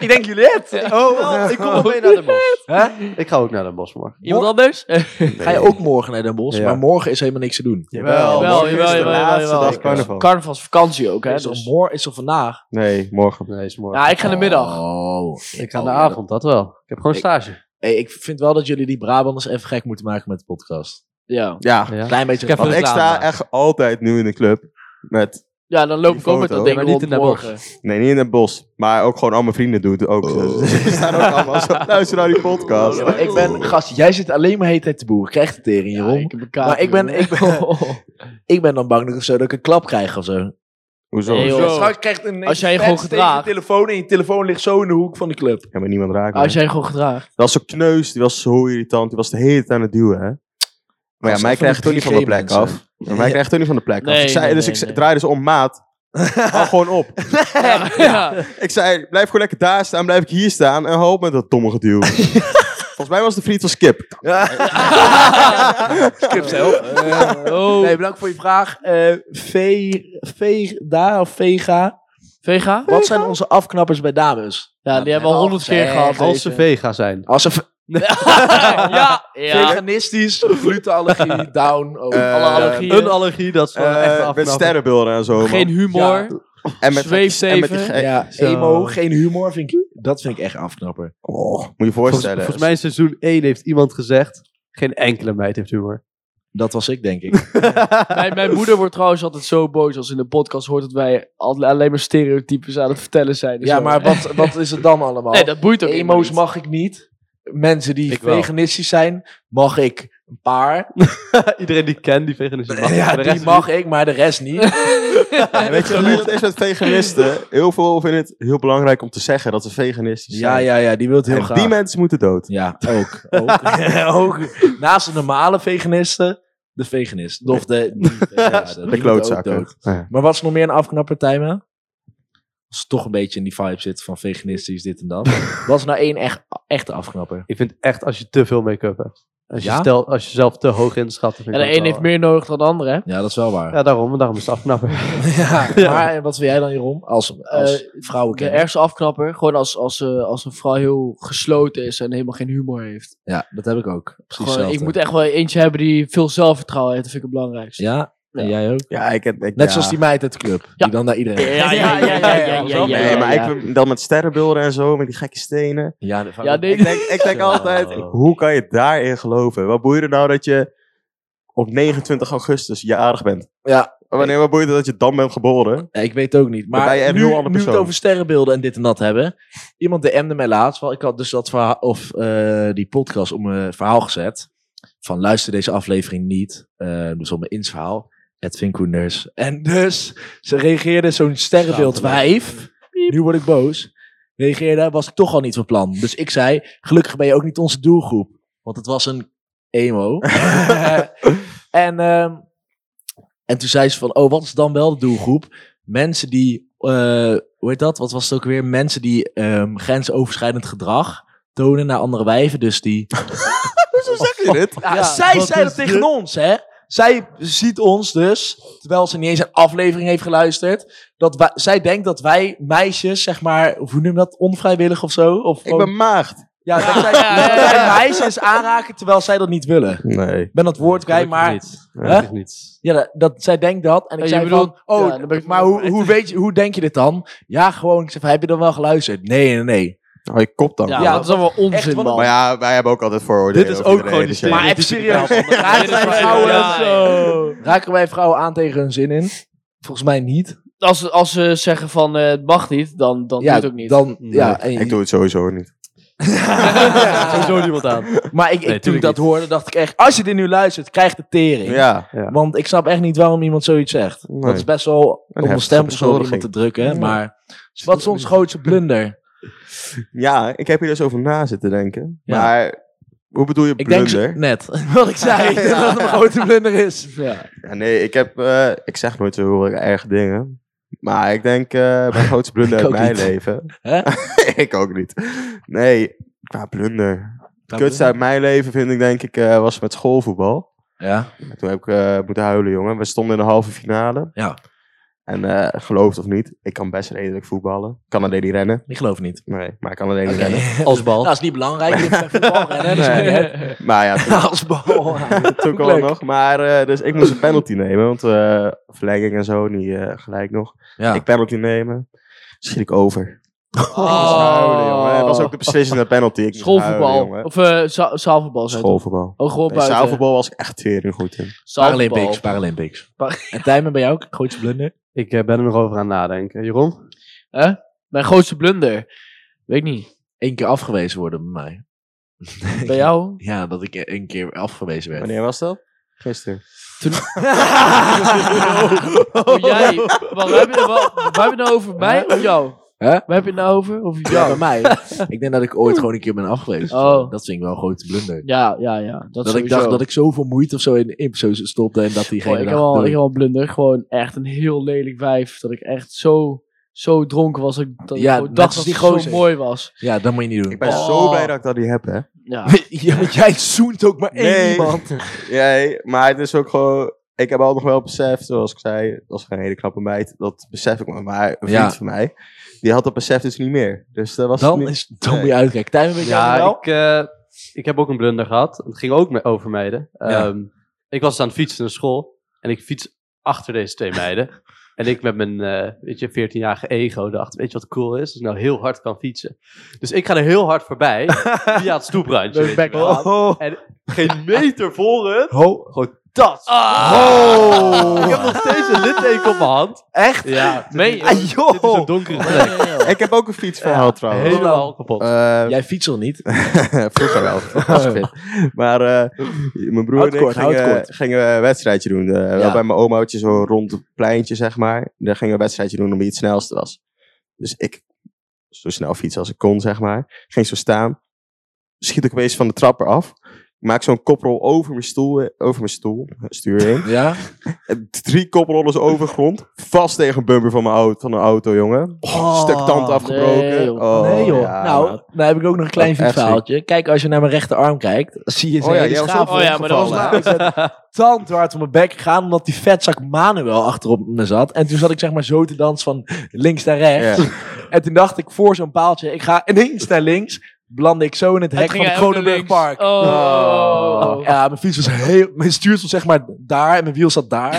C: ik denk jullie het.
A: Oh, ik kom ook mee naar de bos. Ik ga ook naar de bos morgen.
B: Iemand anders?
C: Ga je ook morgen naar Den Bosch,
A: Ja.
C: maar morgen is helemaal niks te doen.
A: Jawel,
B: jawel,
D: morgen is
B: jawel,
D: de
B: jawel,
D: laatste
B: jawel.
D: dag carnaval.
B: Carnavalsvakantie ook, hè?
C: is, al
B: dus-
C: mor- is al vandaag.
D: Nee, morgen.
A: Nee, is morgen.
B: Ja, ik ga in de middag.
C: Oh.
A: ik ga
C: Oh,
A: naar de
C: ja,
A: avond, dat wel. Ik heb gewoon
C: Ik-
A: stage.
C: Hey, ik vind wel dat jullie die Brabanders even gek moeten maken met de podcast.
B: Ja.
D: Ja,
A: Ja.
C: Klein beetje.
A: Ik heb
D: want
A: een
D: ik
A: reclame
D: sta
A: maken.
D: echt altijd nu in de club. Met,
B: ja, dan loop
D: Die
B: ik ook met dat
D: foto,
B: ding
A: maar niet
B: rond
A: in Den Bosch.
B: morgen.
D: nee, niet in het bos. Maar ook gewoon al mijn vrienden doen het ook. Dus Ze staan ook allemaal zo Oh. luister naar die podcast.
C: Ja, maar ik ben gast. Jij zit alleen maar de hele tijd te boeren. Krijg de tering
B: Ja,
C: hierom.
B: ik heb een kaart, Oh,
C: Maar ik ben-
B: jongen.
C: ik ik ben dan bang dat, ik, zo, dat ik een klap krijg of zo.
D: Hoezo?
B: Nee, joh.
D: ja,
C: Straks krijgt een
B: Als jij je gewoon
C: vet tegen je
B: gedraagt.
C: telefoon en je telefoon ligt zo in de hoek van de club.
D: maar niemand raakt me.
B: Als jij gewoon gedraagt.
D: Dat was zo'n kneus, die was zo irritant. Die was de hele tijd aan het duwen, hè. Maar ja,
C: Als
D: mij
C: even
D: krijgt
C: de
D: toch niet van de
C: 3G
D: plek
C: mensen.
D: af. Maar mij krijgt toch niet van de plek af.
B: Nee,
D: Ik zei,
B: nee,
D: dus
B: nee,
D: ik zei-
B: nee.
D: draaide ze om, maat. Hou gewoon op.
B: Ja, ja.
D: Ik zei, blijf gewoon lekker daar staan, blijf ik hier staan. En hoop met dat domme geduw. Volgens mij was de vriend van Skip.
C: Club zelf.
B: Oh.
C: Nee, bedankt voor je vraag. Eh ve, Vega of Vega.
B: Vega?
C: Wat zijn onze afknappers bij dames?
B: Ja, die hebben we al honderd keer
C: gezegd.
B: gehad.
A: Als ze
B: deze.
A: vega zijn.
C: Als een ve-
B: Ja, ja.
C: veganistisch, glutenallergie, down. Oh, alle
D: Eh,
C: allergieën.
B: allergieën.
A: Een allergie, dat is wel
D: Eh,
A: echt
D: met
A: afknappen.
D: sterrenbeelden en zo.
B: Geen
D: man.
B: humor.
C: Ja.
D: en met, en met die
B: zweefzeven.
D: ge-
C: Ja,
A: Zo.
C: emo, geen humor, vind ik, dat vind ik echt afknapper.
D: Oh, moet je je
A: Volgens,
D: voorstellen.
A: volgens mij in seizoen 1 heeft iemand gezegd... Geen enkele meid heeft humor.
C: Dat was ik, denk ik.
B: Mijn, mijn moeder wordt trouwens altijd zo boos als ze in de podcast hoort dat wij al- alleen maar stereotypes aan het vertellen zijn. en
C: ja,
B: zo.
C: maar wat, wat is het dan allemaal?
B: Nee, dat boeit ook helemaal
C: Emo's
B: niet.
C: mag ik niet. Mensen die
A: Ik wel.
C: veganistisch zijn, mag ik een paar.
A: Iedereen die ik ken, die vegan is mag.
C: ja,
A: de
C: die
A: rest
C: mag ik, maar de rest niet.
D: En weet je wat het is met veganisten? Heel veel vinden het heel belangrijk om te zeggen dat ze veganistisch zijn.
C: ja, ja, ja, die wil het heel
D: En
C: graag.
D: die mensen moeten dood.
C: Ja, ook. ook, ook. Naast de normale veganisten, de veganist. Of de... die veganisten, die moeten
D: De
C: ook dood.
D: klootzakken. Ja.
C: Maar wat is nog meer een afknapper, Tijmen? Als ze toch een beetje in die vibe zit van veganistisch dit en dat. wat is nou één echt, echte afknapper?
A: Ik vind echt als je te veel make-up hebt. Als je,
C: Ja?
A: stel, als je zelf te hoog inschat. dan vind
B: En
A: ik
B: de
A: dat
B: een
A: wel-
B: heeft meer nodig dan de ander, hè?
C: Ja, dat is wel waar.
A: Ja, daarom. Daarom is het afknappen.
C: Ja, Maar wat wil jij dan, Jeroen? Als, als
B: Eh,
C: vrouwen
B: De ergste afknapper, gewoon als, als, eh, als een vrouw heel gesloten is en helemaal geen humor heeft.
C: Ja, dat heb ik ook. Precies
B: Gewoon, ik
C: hetzelfde.
B: moet echt wel eentje hebben die veel zelfvertrouwen heeft, dat vind ik het belangrijkste.
C: Ja, en
B: Ja.
C: jij ook.
D: Ja, ik heb... Ik,
C: Net
D: ja.
C: zoals die meid uit de club.
B: Ja.
C: Die dan naar iedereen...
B: Ja, ja, ja, ja, ja, ja, ja,
D: nee, maar
B: ja.
D: ik vind dan met sterrenbeelden en zo, met die gekke stenen.
C: Ja, de-
B: Ja, nee.
D: Ik denk, ik denk
A: Zo.
D: altijd, hoe kan je daarin geloven? Wat boeit het nou dat je op 29 augustus jarig bent?
C: Ja.
D: Wanneer wat boeit het dat je dan bent geboren?
C: Ja, ik weet het ook niet.
D: Dan ben je
C: Maar
D: echt
C: nu,
D: een heel
C: nu
D: ander
C: we het
D: persoon.
C: over sterrenbeelden en dit en dat hebben. Iemand DM'de mij laatst. wel, Ik had dus dat verhaal, of eh, die podcast om mijn verhaal gezet. Van luister deze aflevering niet. eh, dus om mijn ins verhaal. Edwin Koenders. En dus, ze reageerde zo'n sterrenbeeld wijf. Nu word ik boos. Reageerde, was ik toch al niet van plan. Dus ik zei, gelukkig ben je ook niet onze doelgroep. Want het was een emo. en, ehm, en toen zei ze van, oh, wat is dan wel de doelgroep? mensen die, eh, hoe heet dat? Wat was het ook weer? Mensen die ehm, grensoverschrijdend gedrag tonen naar andere wijven. Dus die.
D: Hoezo zeg je dit?
C: Ja,
A: Ja,
C: zij
A: wat
C: zei dat
A: is dit?
C: tegen ons, hè? Zij ziet ons dus, terwijl ze niet eens een aflevering heeft geluisterd, dat wij, zij denkt dat wij meisjes, zeg maar, of hoe noem je dat, onvrijwillig of zo? Of
D: Ik ben maagd.
C: ja, dat zij, dat wij meisjes aanraken terwijl zij dat niet willen.
D: Nee.
C: Ik ben dat woord kwijt,
A: Gelukkig
C: maar
A: niet.
D: Huh?
A: Gelukkig niet.
C: ja, dat, dat- zij denkt dat. En ik
B: Oh, je
C: zei
B: bedoelt-
C: van,
B: ja,
C: oh,
B: dan ben ik-
C: maar hoe, hoe, weet je, hoe denk je dit dan? Ja, gewoon, ik zei van, heb je dan wel geluisterd? Nee, nee, nee.
D: Oh, je kop dan.
B: Ja,
C: Ja,
B: dat is allemaal
C: echt
B: onzin,
C: wel
B: man.
D: Maar ja, wij hebben ook altijd vooroordelen.
A: Dit is
D: over
A: ook
D: iedereen,
A: gewoon die
D: dus ja.
A: Maar
C: Maar even serieus, raken wij, vrouwen,
B: Ja,
C: raken wij vrouwen aan tegen hun zin in? Volgens mij niet.
B: Als, ze- als ze zeggen van eh, het mag niet, dan, dan
C: ja,
B: doet het ook niet.
C: Dan,
A: Nee.
C: ja, en-
D: Ik doe het sowieso niet.
A: Ja, sowieso niemand aan.
C: Maar ik, ik,
A: Nee,
C: toen ik
A: tuurlijk
C: dat hoorde, dacht ik echt, als je dit nu luistert, krijg de tering.
D: Ja.
A: Ja.
C: Want ik snap echt niet waarom iemand zoiets zegt.
D: Nee.
C: Dat is best wel om een
D: heftige
C: stempel zo op iemand
D: bezorging.
C: te drukken.
D: Ja.
C: Maar wat is ons grootste blunder?
D: ja, ik heb hier dus over na zitten denken.
C: Ja.
D: Maar hoe bedoel je
C: Ik denk ze-
D: blunder?
C: net wat ik zei,
D: Ja.
C: dat het een grote blunder is.
B: ja.
D: Ja, nee, ik, heb, eh, ik zeg nooit zo heel erg dingen. Maar ik denk, eh, mijn grootste blunder
C: Ik
D: uit
C: ook
D: mijn
C: niet.
D: leven.
C: Hè?
D: ik ook niet. Nee, qua blunder. Het kutste uit mijn leven vind ik, denk ik, eh, was met schoolvoetbal.
C: Ja.
D: En toen heb ik eh, moeten huilen, jongen. We stonden in de halve finale.
C: Ja.
D: En eh, geloof het of niet, ik kan best redelijk voetballen. Ik kan alleen niet rennen.
C: Ik geloof niet.
D: Nee, maar ik kan alleen niet
C: Oké.
D: rennen.
A: Als bal.
C: Dat is niet belangrijk. Je hebt voetbal rennen.
B: dus
D: Nee. Maar ja, toen,
C: Als bal.
D: toen kwam het nog. Maar eh, dus ik moest een penalty nemen. Want eh, verlenging en zo, niet eh, gelijk nog.
C: Ja.
D: Ik penalty nemen. Schiet ik over.
B: Oh.
D: Huilen, jongen. Het was ook de beslissende penalty. Ik moest huilen,
B: Schoolvoetbal.
D: jongen.
B: of eh, za- zaalvoetbal. zei het.
D: Schoolvoetbal.
B: Oh, gewoon
D: In
B: buiten.
D: zaalvoetbal was ik echt tering goed in.
B: Zaalvoetbal.
C: Paralympics. Paralympics.
B: Pa-
C: En Tijmen, ben jij ook? Grootste blunder?
A: Ik eh, ben er nog over aan het nadenken. Jeroen?
B: Mijn grootste blunder. Weet ik niet.
C: Eén keer afgewezen worden bij mij.
B: Bij jou?
C: Ja, dat ik één keer afgewezen werd.
D: Wanneer was dat? Gisteren.
B: Oh, jij. Wat, waar, heb je, wat, waar heb je het nou over? Mij of jou?
C: Hè?
B: Waar heb je het nou over? Of
C: Ja,
B: jou?
C: bij mij. ik denk dat ik ooit gewoon een keer ben afgewezen.
B: Oh.
C: Dat vind ik wel een grote blunder.
B: Ja, ja, ja. Dat,
C: dat ik dacht dat ik zoveel moeite of zo in Impso stopte en dat diegene
B: Oh, ik, heb
C: dacht,
B: al, ik
C: doei.
B: heb al een blunder. Gewoon echt een heel lelijk wijf. Dat ik echt zo, zo dronken was. Dat ik, dat
C: Ja,
B: ik gewoon
C: net
B: dacht
C: als
B: dat
C: die
B: het zo
C: gozer.
B: mooi was.
C: Ja, dat moet je niet doen.
D: Ik ben
B: Oh.
D: zo blij dat ik dat niet heb, hè.
B: Ja.
C: Ja, want jij zoent ook maar één
D: Nee.
C: iemand.
D: Jij, maar het is ook gewoon... Ik heb al nog wel beseft, zoals ik zei, het was geen hele knappe meid. Dat besef ik maar, maar een vriend
C: Ja.
D: van mij, die had dat besef dus niet meer. Dus dat was het
C: Dan,
D: niet.
C: is, dan moet je uitkijken. Tijmen, weet jij
A: Ja,
C: wel?
A: ik, eh, ik heb ook een blunder gehad. Het ging ook me- over meiden. Ehm, ik was aan het fietsen naar school. En ik fiets achter deze twee meiden. En ik met mijn eh, weet je, 14-jarige ego dacht, weet je wat cool is? Als ik nou heel hard kan fietsen. Dus ik ga er heel hard voorbij, via het stoeprandje.
B: Leuk
D: Oh.
A: weet je wel.
B: background.
A: En geen meter voor het,
C: Ho.
A: gewoon dat? Oh! Ik heb nog steeds een litteken op mijn hand.
D: Echt?
A: Ja, meen je?
D: Ah, joh.
A: Dit is een donkere plek.
D: Ik heb ook een fietsverhaal trouwens.
A: Helemaal kapot.
D: Eh,
C: Jij fietst al niet?
D: vroeger wel. Als fit. maar eh, mijn broer
C: Houd
D: en ik
C: kort, houd
D: gingen,
C: kort.
D: gingen een wedstrijdje doen. eh, wel
C: Ja.
D: bij mijn omaatje zo rond het pleintje, zeg maar. Daar gingen we een wedstrijdje doen om wie het snelste was. Dus ik, zo snel fietsen als ik kon, zeg maar. Ging zo staan. Schiet ik opeens van de trap eraf. Ik maak zo'n koprol over mijn stoel, over mijn stoel, stuur heen.
C: Ja?
D: En Drie koprollers over grond. Vast tegen een bumper van, mijn auto, van een auto, jongen. Oh, Stuk tand afgebroken.
B: nee, joh.
D: Oh,
C: Oh, nee joh.
D: ja,
C: nou,
D: maat.
C: daar heb ik ook nog een klein
D: Dat is echt
C: fietsverhaaltje. Kijk, als je naar mijn rechterarm kijkt, zie je zijn
D: Oh ja,
C: hele
D: jij was
C: schaaf
D: ook
B: Oh ja, maar dat was
D: opgevallen.
C: Ik ben tandwaard op mijn bek gegaan, omdat die vetzak Manuel achterop me zat. En toen zat ik zeg maar zo te dansen van links naar rechts. En toen dacht ik voor zo'n paaltje, ik ga ineens naar links. Belandde ik zo in het hek van
B: ging
C: het
B: hij ook naar
C: Kronenburgpark.
B: links. Oh.
C: Ja, mijn fiets was heel... Mijn stuur stond zeg maar daar en mijn wiel zat daar.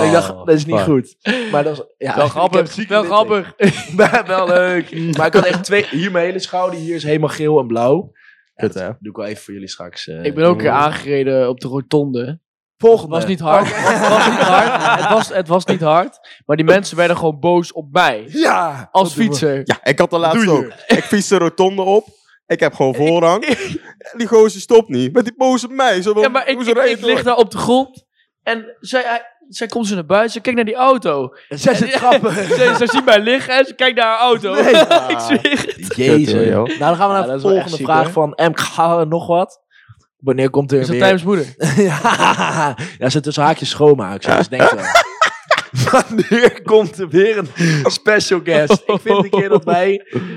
C: En ik dacht, dat is niet
A: fuck.
C: goed. Maar dat was... Ja,
B: Oh, Wel
C: ik heb
B: grappig.
C: zieke
B: Wel
C: litteken.
B: grappig.
C: Maar wel leuk. Maar ik had echt twee... Hier mijn hele schouder, hier is helemaal geel en blauw. Ja,
D: Kut,
C: dat
D: hè?
C: doe ik wel even voor jullie straks. eh,
B: Ik ben ook een keer aangereden op de rotonde. Het
C: Volgende.
B: was niet hard.
C: Oh.
B: Het was niet hard. Het was, het was niet hard. Maar die mensen werden gewoon boos op mij.
C: Ja!
B: Als
C: dat doen we.
B: fietser.
D: Ja, ik had de laatste
C: doe je?
D: ook. Ik fiets de rotonde op. Ik heb gewoon voorrang. Die gozer stopt niet. Met die boze op mij. Zo,
B: Ja, maar ik,
D: hoezo
B: ik,
D: rijd je
B: ik lig
D: door?
B: daar op de grond. En zij, hij- zij komt zo naar buiten. Ze kijkt naar die auto.
C: Oh, Zes
B: En-
C: trappen.
B: ze, ze ziet mij liggen en ze kijkt naar haar auto.
C: Nee.
B: Ik zweer.
D: Kut, hoor,
C: Jezus.
D: joh.
C: Nou, dan gaan we naar
B: dat is
C: de
B: wel echt
C: volgende
B: ziek,
C: vraag
B: hoor.
C: van M. Gauw, nog wat. Wanneer komt er
B: Is dat
C: weer...
B: tijdens moeder?
C: ja, ja, zit tussen haakjes schoonmaak. Zo, dus denk wel. Wanneer komt er weer een special guest? Ik vind een keer dat wij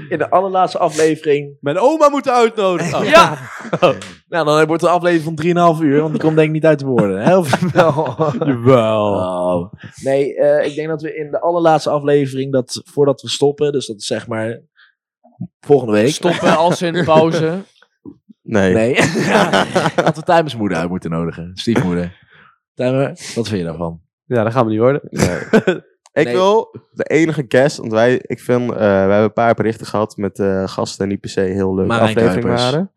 C: in de allerlaatste aflevering...
A: Mijn oma moet uitnodigen. Oh.
B: Ja.
C: Nou, dan wordt de aflevering van 3,5 uur, want die komt denk ik niet uit te worden. Heel veel.
A: Jawel.
C: Oh. Nee, eh, ik denk dat we in de allerlaatste aflevering, dat, voordat we stoppen, dus dat is zeg maar volgende week.
B: Stoppen als in pauze.
D: Nee.
C: Nee. Ja. dat we Tijmers moeder uit moeten nodigen. Stiefmoeder. Tijmer, wat vind je daarvan?
A: Ja, dat gaan we niet worden.
D: Ik
C: Nee.
D: wil de enige guest. Want wij, ik vind, eh, we hebben een paar berichten gehad met eh, gasten die niet per se heel leuke
C: Marijn
D: aflevering
C: Kuipers.
D: waren.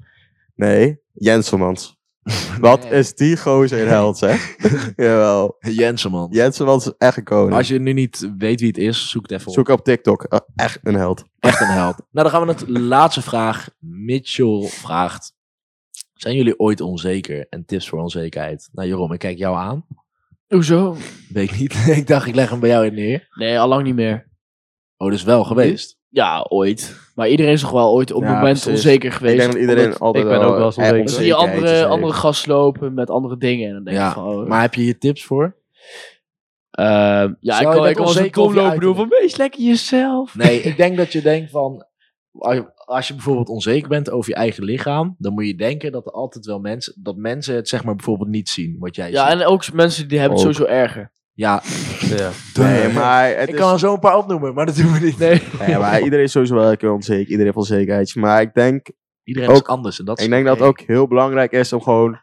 D: Nee, Jenselmans. Wat is die gozer een held, zeg? Jawel.
C: Jensenman.
D: Jenselmans is echt een koning.
C: Als je nu niet weet wie het is, zoek het even op.
D: Zoek op TikTok. Eh, echt een held.
C: Echt een held. nou, dan gaan we naar de laatste vraag. Mitchell vraagt. Zijn jullie ooit onzeker? En tips voor onzekerheid. Nou, Jeroen, ik kijk jou aan.
B: Hoezo?
C: Weet ik niet. ik dacht, ik leg hem bij jou in neer.
B: Nee, al lang niet meer.
C: Oh, dus wel geweest.
B: Ja, ooit. Maar iedereen is toch wel ooit op
D: Ja,
B: het moment
D: precies.
B: onzeker
D: Ik
B: geweest.
D: denk dat iedereen
B: Omdat
D: altijd
A: ik ben ook wel eens
D: eh,
A: onzeker.
B: zie je andere,
D: onzekerheidjes
B: andere
D: heeft.
B: gasten lopen met andere dingen. En dan denk
C: Ja,
B: ik van, oh,
C: Maar heb je hier tips voor?
B: Ehm, ja,
C: Zou
B: ik
C: je
B: kan,
C: dat
B: ik kan wel zo'n
C: onzeker
B: kom
C: over je
B: lopen doen van wees lekker jezelf.
C: Nee, ik denk dat je denkt van. als je- Als je bijvoorbeeld onzeker bent over je eigen lichaam, dan moet je denken dat er altijd wel mensen, dat mensen het zeg maar bijvoorbeeld niet zien wat jij
B: Ja,
C: ziet.
B: en ook mensen die hebben het
D: Ook.
B: sowieso erger.
C: Ja,
A: Ja.
D: Nee, maar het
C: ik
D: is
C: kan er zo een paar opnoemen, maar dat doen we niet.
B: Nee.
D: Nee, Nou maar iedereen is sowieso wel een keer onzeker. Iedereen heeft onzekerheidjes. Maar ik denk,
C: Iedereen is
D: Ook-
C: anders en dat. is
D: ik denk dat het
C: oké.
D: ook heel belangrijk is om gewoon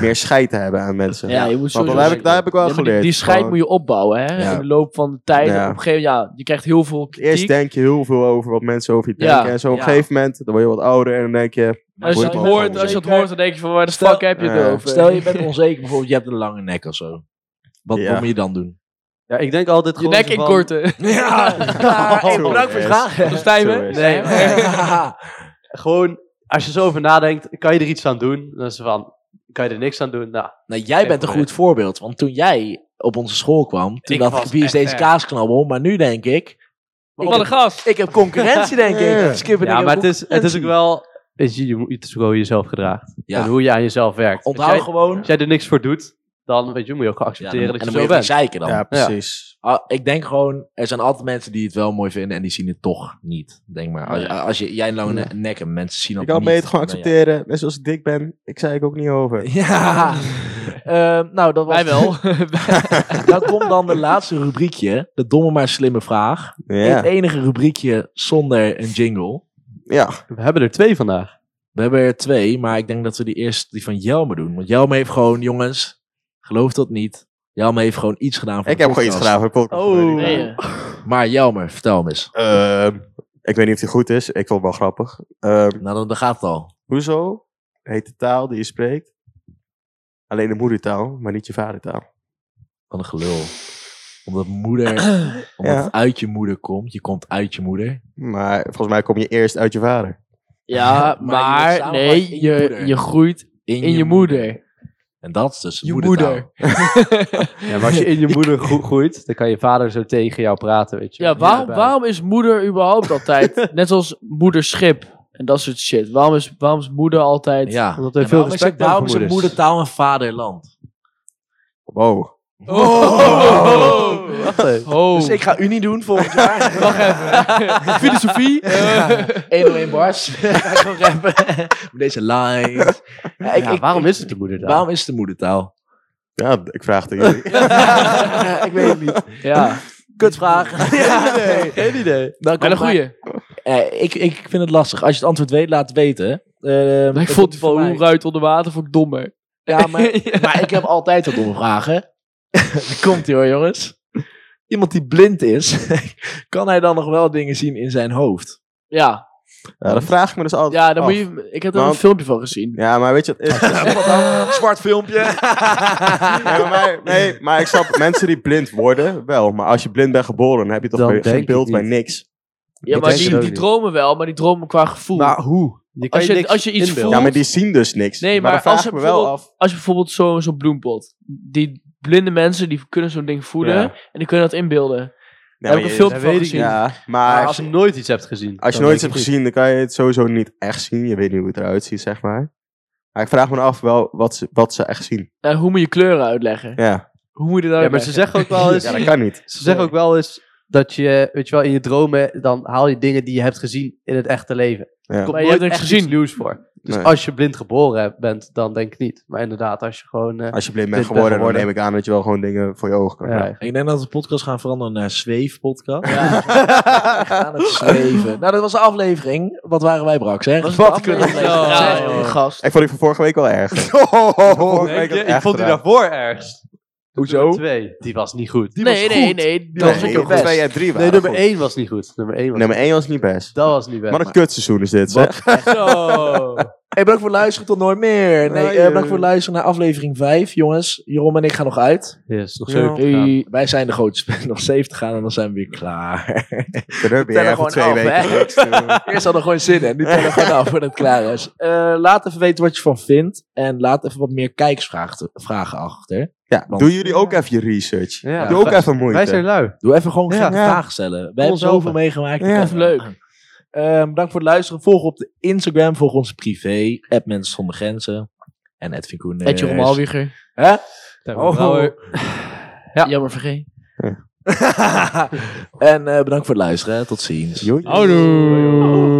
D: meer scheid te hebben aan mensen.
B: Ja, je moet
D: Want
B: sowieso
D: dat heb, ik, daar heb ik wel
B: Ja, maar die,
D: geleerd.
B: die scheid
D: Gewoon,
B: moet je opbouwen, hè?
C: Ja.
B: In de loop van de tijd.
D: Ja.
B: Op een gegeven moment, ja, je krijgt heel veel
D: Eerst
B: kritiek.
D: denk je heel veel over wat mensen over je
B: Ja,
D: denken. en zo op een
C: ja.
D: gegeven moment, dan word je wat ouder en dan denk je...
B: als, je
D: moet
B: het
D: je het
B: hoort,
D: wel
B: als je het
C: zeker.
B: hoort, dan denk je van waar de
C: Stel-
B: fuck heb je het
D: Ja.
A: eh,
B: over?
C: Stel je bent onzeker, bijvoorbeeld je hebt een lange nek of zo. Wat,
D: Ja.
C: wat moet je dan doen?
A: ja, ik denk altijd
B: je
A: gewoon
B: nek
A: zo van-
B: inkorten.
C: Ja,
D: hey, bedankt voor het vragen.
B: Stijven?
D: Sorry.
B: Nee.
A: Gewoon, als je zo over nadenkt, kan je er iets aan doen? Dan is het van, kan je er niks aan doen? Nou,
C: Nou, jij bent een goed voorbeeld, want toen jij op onze school kwam, toen
A: Ik
C: dacht
A: was
C: ik, wie is
A: echt eh,
C: deze
A: erg.
C: kaasknabbel? Maar nu denk ik,
B: Wat een gast.
C: ik heb concurrentie denk
D: Ja.
C: ik. Skipper,
A: ja,
C: ik
A: maar
C: heb
A: het is, het is ook wel... weet je, je moet- Het is ook wel hoe je jezelf gedraagt.
C: Ja.
A: En hoe je aan jezelf werkt.
C: Onthoud
A: als, jij,
C: gewoon.
A: als jij er niks voor doet, dan weet je, moet je ook gewoon
C: Ja,
A: accepteren
C: dan, en
A: dat
C: dan
A: je
C: moet
A: zo
C: je niet
A: bent.
C: zeiken dan.
D: Ja, precies.
C: Ah, ik denk gewoon, er zijn altijd mensen die het wel mooi vinden en die zien het toch niet. Denk maar, als, als je, jij een lange ne- nek hebt, mensen zien dat
D: Ik kan
C: niet.
D: beter gewoon
C: dan ben
D: accepteren. Net zoals ik dik ben, ik zei ik ook niet over.
C: jij- Ja. Ehm, nou, dat was...
B: Wij wel.
C: Dan komt dan de laatste rubriekje, de domme maar slimme vraag. Het
D: Ja,
C: enige rubriekje zonder een jingle.
D: ja.
A: We hebben er twee vandaag.
C: We hebben er twee, maar ik denk dat we die eerst die van Jelme doen. Want Jelme heeft gewoon, jongens, geloof dat niet. Jelme heeft gewoon iets gedaan voor
D: ik
C: de
D: heb gewoon iets
C: podcast.
D: gedaan voor de podcast.
A: Oh.
B: Nee, eh.
C: Maar Jelme, vertel me eens.
D: Ehm, ik weet niet of die goed is. Ik vond het wel grappig. Ehm,
C: Nou, dan, dan gaat het al.
D: hoezo heet de taal die je spreekt Alleen de moedertaal, maar niet je vadertaal.
C: Wat een gelul. Omdat moeder, omdat
D: Ja.
C: het uit je moeder komt. Je komt uit je moeder.
D: Maar volgens mij kom je eerst uit je vader.
B: Ja,
C: Maar je wordt
B: maar
C: samengevat
B: nee,
C: in je
B: je,
C: moeder.
B: je groeit in je moeder.
C: En dat is dus
B: Je
C: moedertaal.
B: moeder.
A: Ja, maar als je in je moeder gro- groeit, dan kan je vader zo tegen jou praten, weet je.
B: Ja, waarom,
A: bij-
B: waarom is moeder überhaupt altijd, net zoals moederschip en dat soort shit, waarom is, waarom is moeder altijd...
C: Ja.
A: Omdat we
C: En
A: veel
C: waarom is
A: respect
C: het-
A: hebben
C: waarom
A: voor
C: is het
A: moeders.
C: moedertaal een vaderland?
D: Wow.
C: oh,
B: Oh.
A: Wacht even.
B: Oh.
C: Dus ik ga Unie doen volgend jaar.
B: Wacht even. Filosofie? Eh,
C: 101 bars. Ga ik gewoon rappen. Met Deze lines. Ja, ik-
A: Ja,
C: ik-
A: waarom is het de moeder
C: Waarom is het de moedertaal?
D: Ja, d- ik vraag het aan jullie.
C: ik weet het niet.
B: ja,
C: Kutvraag. ja, nee.
A: Geen idee.
C: Dan
B: wel
C: komt
B: een
C: maar-
B: goeie.
C: Eh, ik, ik vind het lastig. Als je het antwoord weet, laat het weten. Eh,
B: Maar ik
C: het
B: vond
C: komt
B: die
C: voor
B: van
C: mij.
B: hoe ruit onder water vond ik dommer.
C: Ja, maar, maar ik heb altijd wat domme vragen. Komt ie hoor, jongens. Iemand die blind is, kan hij dan nog wel dingen zien in zijn hoofd?
B: Ja,
D: Ja, dat vraag ik me dus altijd
B: ja dan
D: af.
B: moet je, ik heb er
D: Want-
B: een filmpje van gezien.
D: Ja, maar weet je wat is?
C: Zwart filmpje.
D: Nee maar, mij- nee, maar ik snap mensen die blind worden wel. Maar als je blind bent geboren, dan heb je toch
A: Dan
D: weer
A: denk
D: geen
A: ik
D: beeld bij
A: niet.
D: niks.
B: Ja,
A: Ik
B: maar
A: denk
B: die,
A: het ook
B: die
A: niet.
B: dromen wel, maar die dromen qua gevoel.
A: Maar hoe? Je kan
B: Als je-
A: niks
B: als je iets
A: inbeelden.
B: voelt-
D: Ja, maar die zien dus niks.
B: Nee,
D: maar,
B: maar
D: dan
B: als
D: vraag ik
B: je
D: me wel
B: bijvoorbeeld-
D: af.
B: Als je bijvoorbeeld zo- zo'n bloempot. Die blinde mensen, die kunnen zo'n ding voelen.
D: Ja.
B: En die kunnen dat inbeelden.
D: Ja,
B: heb
D: maar
B: ik een
D: je-
B: filmpje
A: dat
B: van
A: weet ik
B: gezien.
D: Ja,
A: Maar
D: maar
A: als je nooit iets hebt gezien.
D: als je
A: dan
D: nooit iets
A: weet
D: hebt
A: ik
D: gezien, dan kan je het sowieso niet echt zien. Je weet niet hoe het eruit ziet, zeg maar. Maar ik vraag me af wel wat ze, wat ze echt zien.
B: En hoe moet je kleuren uitleggen?
D: Ja,
B: Hoe moet je dat uitleggen?
A: niet. Ja, maar ze zeggen ook wel eens...
D: ja dat kan niet.
A: Ze zeggen ook wel eens dat je, weet je wel, in je dromen, dan haal je dingen die je hebt gezien in het echte leven.
D: Ja.
A: komt
B: Maar je hebt
A: nooit
B: niks
A: echt
B: gezien.
A: iets nieuws voor. Dus
D: Nee.
A: als je blind geboren hebt- bent, dan denk ik niet. Maar inderdaad, als je gewoon... eh,
D: Als je blind bent
A: bent
D: geworden, dan
A: geworden.
D: neem ik aan dat je wel gewoon dingen voor je ogen kan
A: Ja.
D: krijgen.
C: Ik denk dat we de podcast gaan veranderen naar zweefpodcast.
B: Ja.
C: Aan het zweven. Nou, dat was de aflevering. Wat waren wij, Brax, hè?
B: Was
C: Wat
B: het
C: kunnen we
B: aflevering?
C: leveren?
B: Ja,
A: Ja,
B: joh,
A: joh.
B: gast.
D: Ik vond die van vorige week wel erg.
A: Oh,
D: Vorige
A: Denk
D: week
A: je?
D: had echt gedaan.
A: daarvoor ergst.
C: Hoezo?
A: Twee. Die was niet goed.
B: Nee, nee, nee. Dat was
D: Nee,
B: ook heel
D: nummer
B: goed.
D: twee en drie
A: Nee,
D: waren
A: nummer
D: goed.
A: één was niet goed. Nummer één was
D: Nummer 1 was niet best.
A: Dat was niet best.
D: Wat een kutseizoen is dit,
C: Wat?
D: zeg.
B: Zo.
C: Hey, bedankt voor het luisteren tot nooit meer. Nee,
D: Nee,
C: eh,
D: joh.
C: bedankt voor het luisteren naar aflevering 5. Jongens, Jeroen en ik gaan nog uit.
A: Yes, nog
D: Ja.
A: zeven te gaan.
B: Hey.
C: Wij zijn de grote spelers. Nog 70 gaan en dan zijn we weer klaar.
D: Kunnen we
C: Tellen
D: weer even
C: gewoon
D: twee
C: af,
D: weken
C: hè?
D: niks doen.
C: Eerst hadden we gewoon zin en nu tellen we gewoon af voordat het klaar is. Eh, laat even weten wat je van vindt. En laat even wat meer kijksvragen vragen achter.
D: Ja,
C: Want-
D: doen jullie ook even je research.
A: Ja.
D: Doe ook even moeite.
A: Wij zijn lui.
C: Doe even gewoon
A: Ja.
C: gekke
D: Ja.
C: vragen stellen. We hebben
A: ons
C: zoveel
A: open.
C: meegemaakt.
D: Ja.
B: Even leuk.
C: Eh, bedankt voor het luisteren. Volg op de Instagram. Volg ons privé. App Mensen Zonder Grenzen. En Edwin Koenen.
B: Ed Jeroen Malwieger.
C: Hè?
A: Oh. Ja.
B: Jammer vergeten.
C: en eh, bedankt voor het luisteren. Tot ziens.
A: Oh,
D: Joe.
B: Houdoe.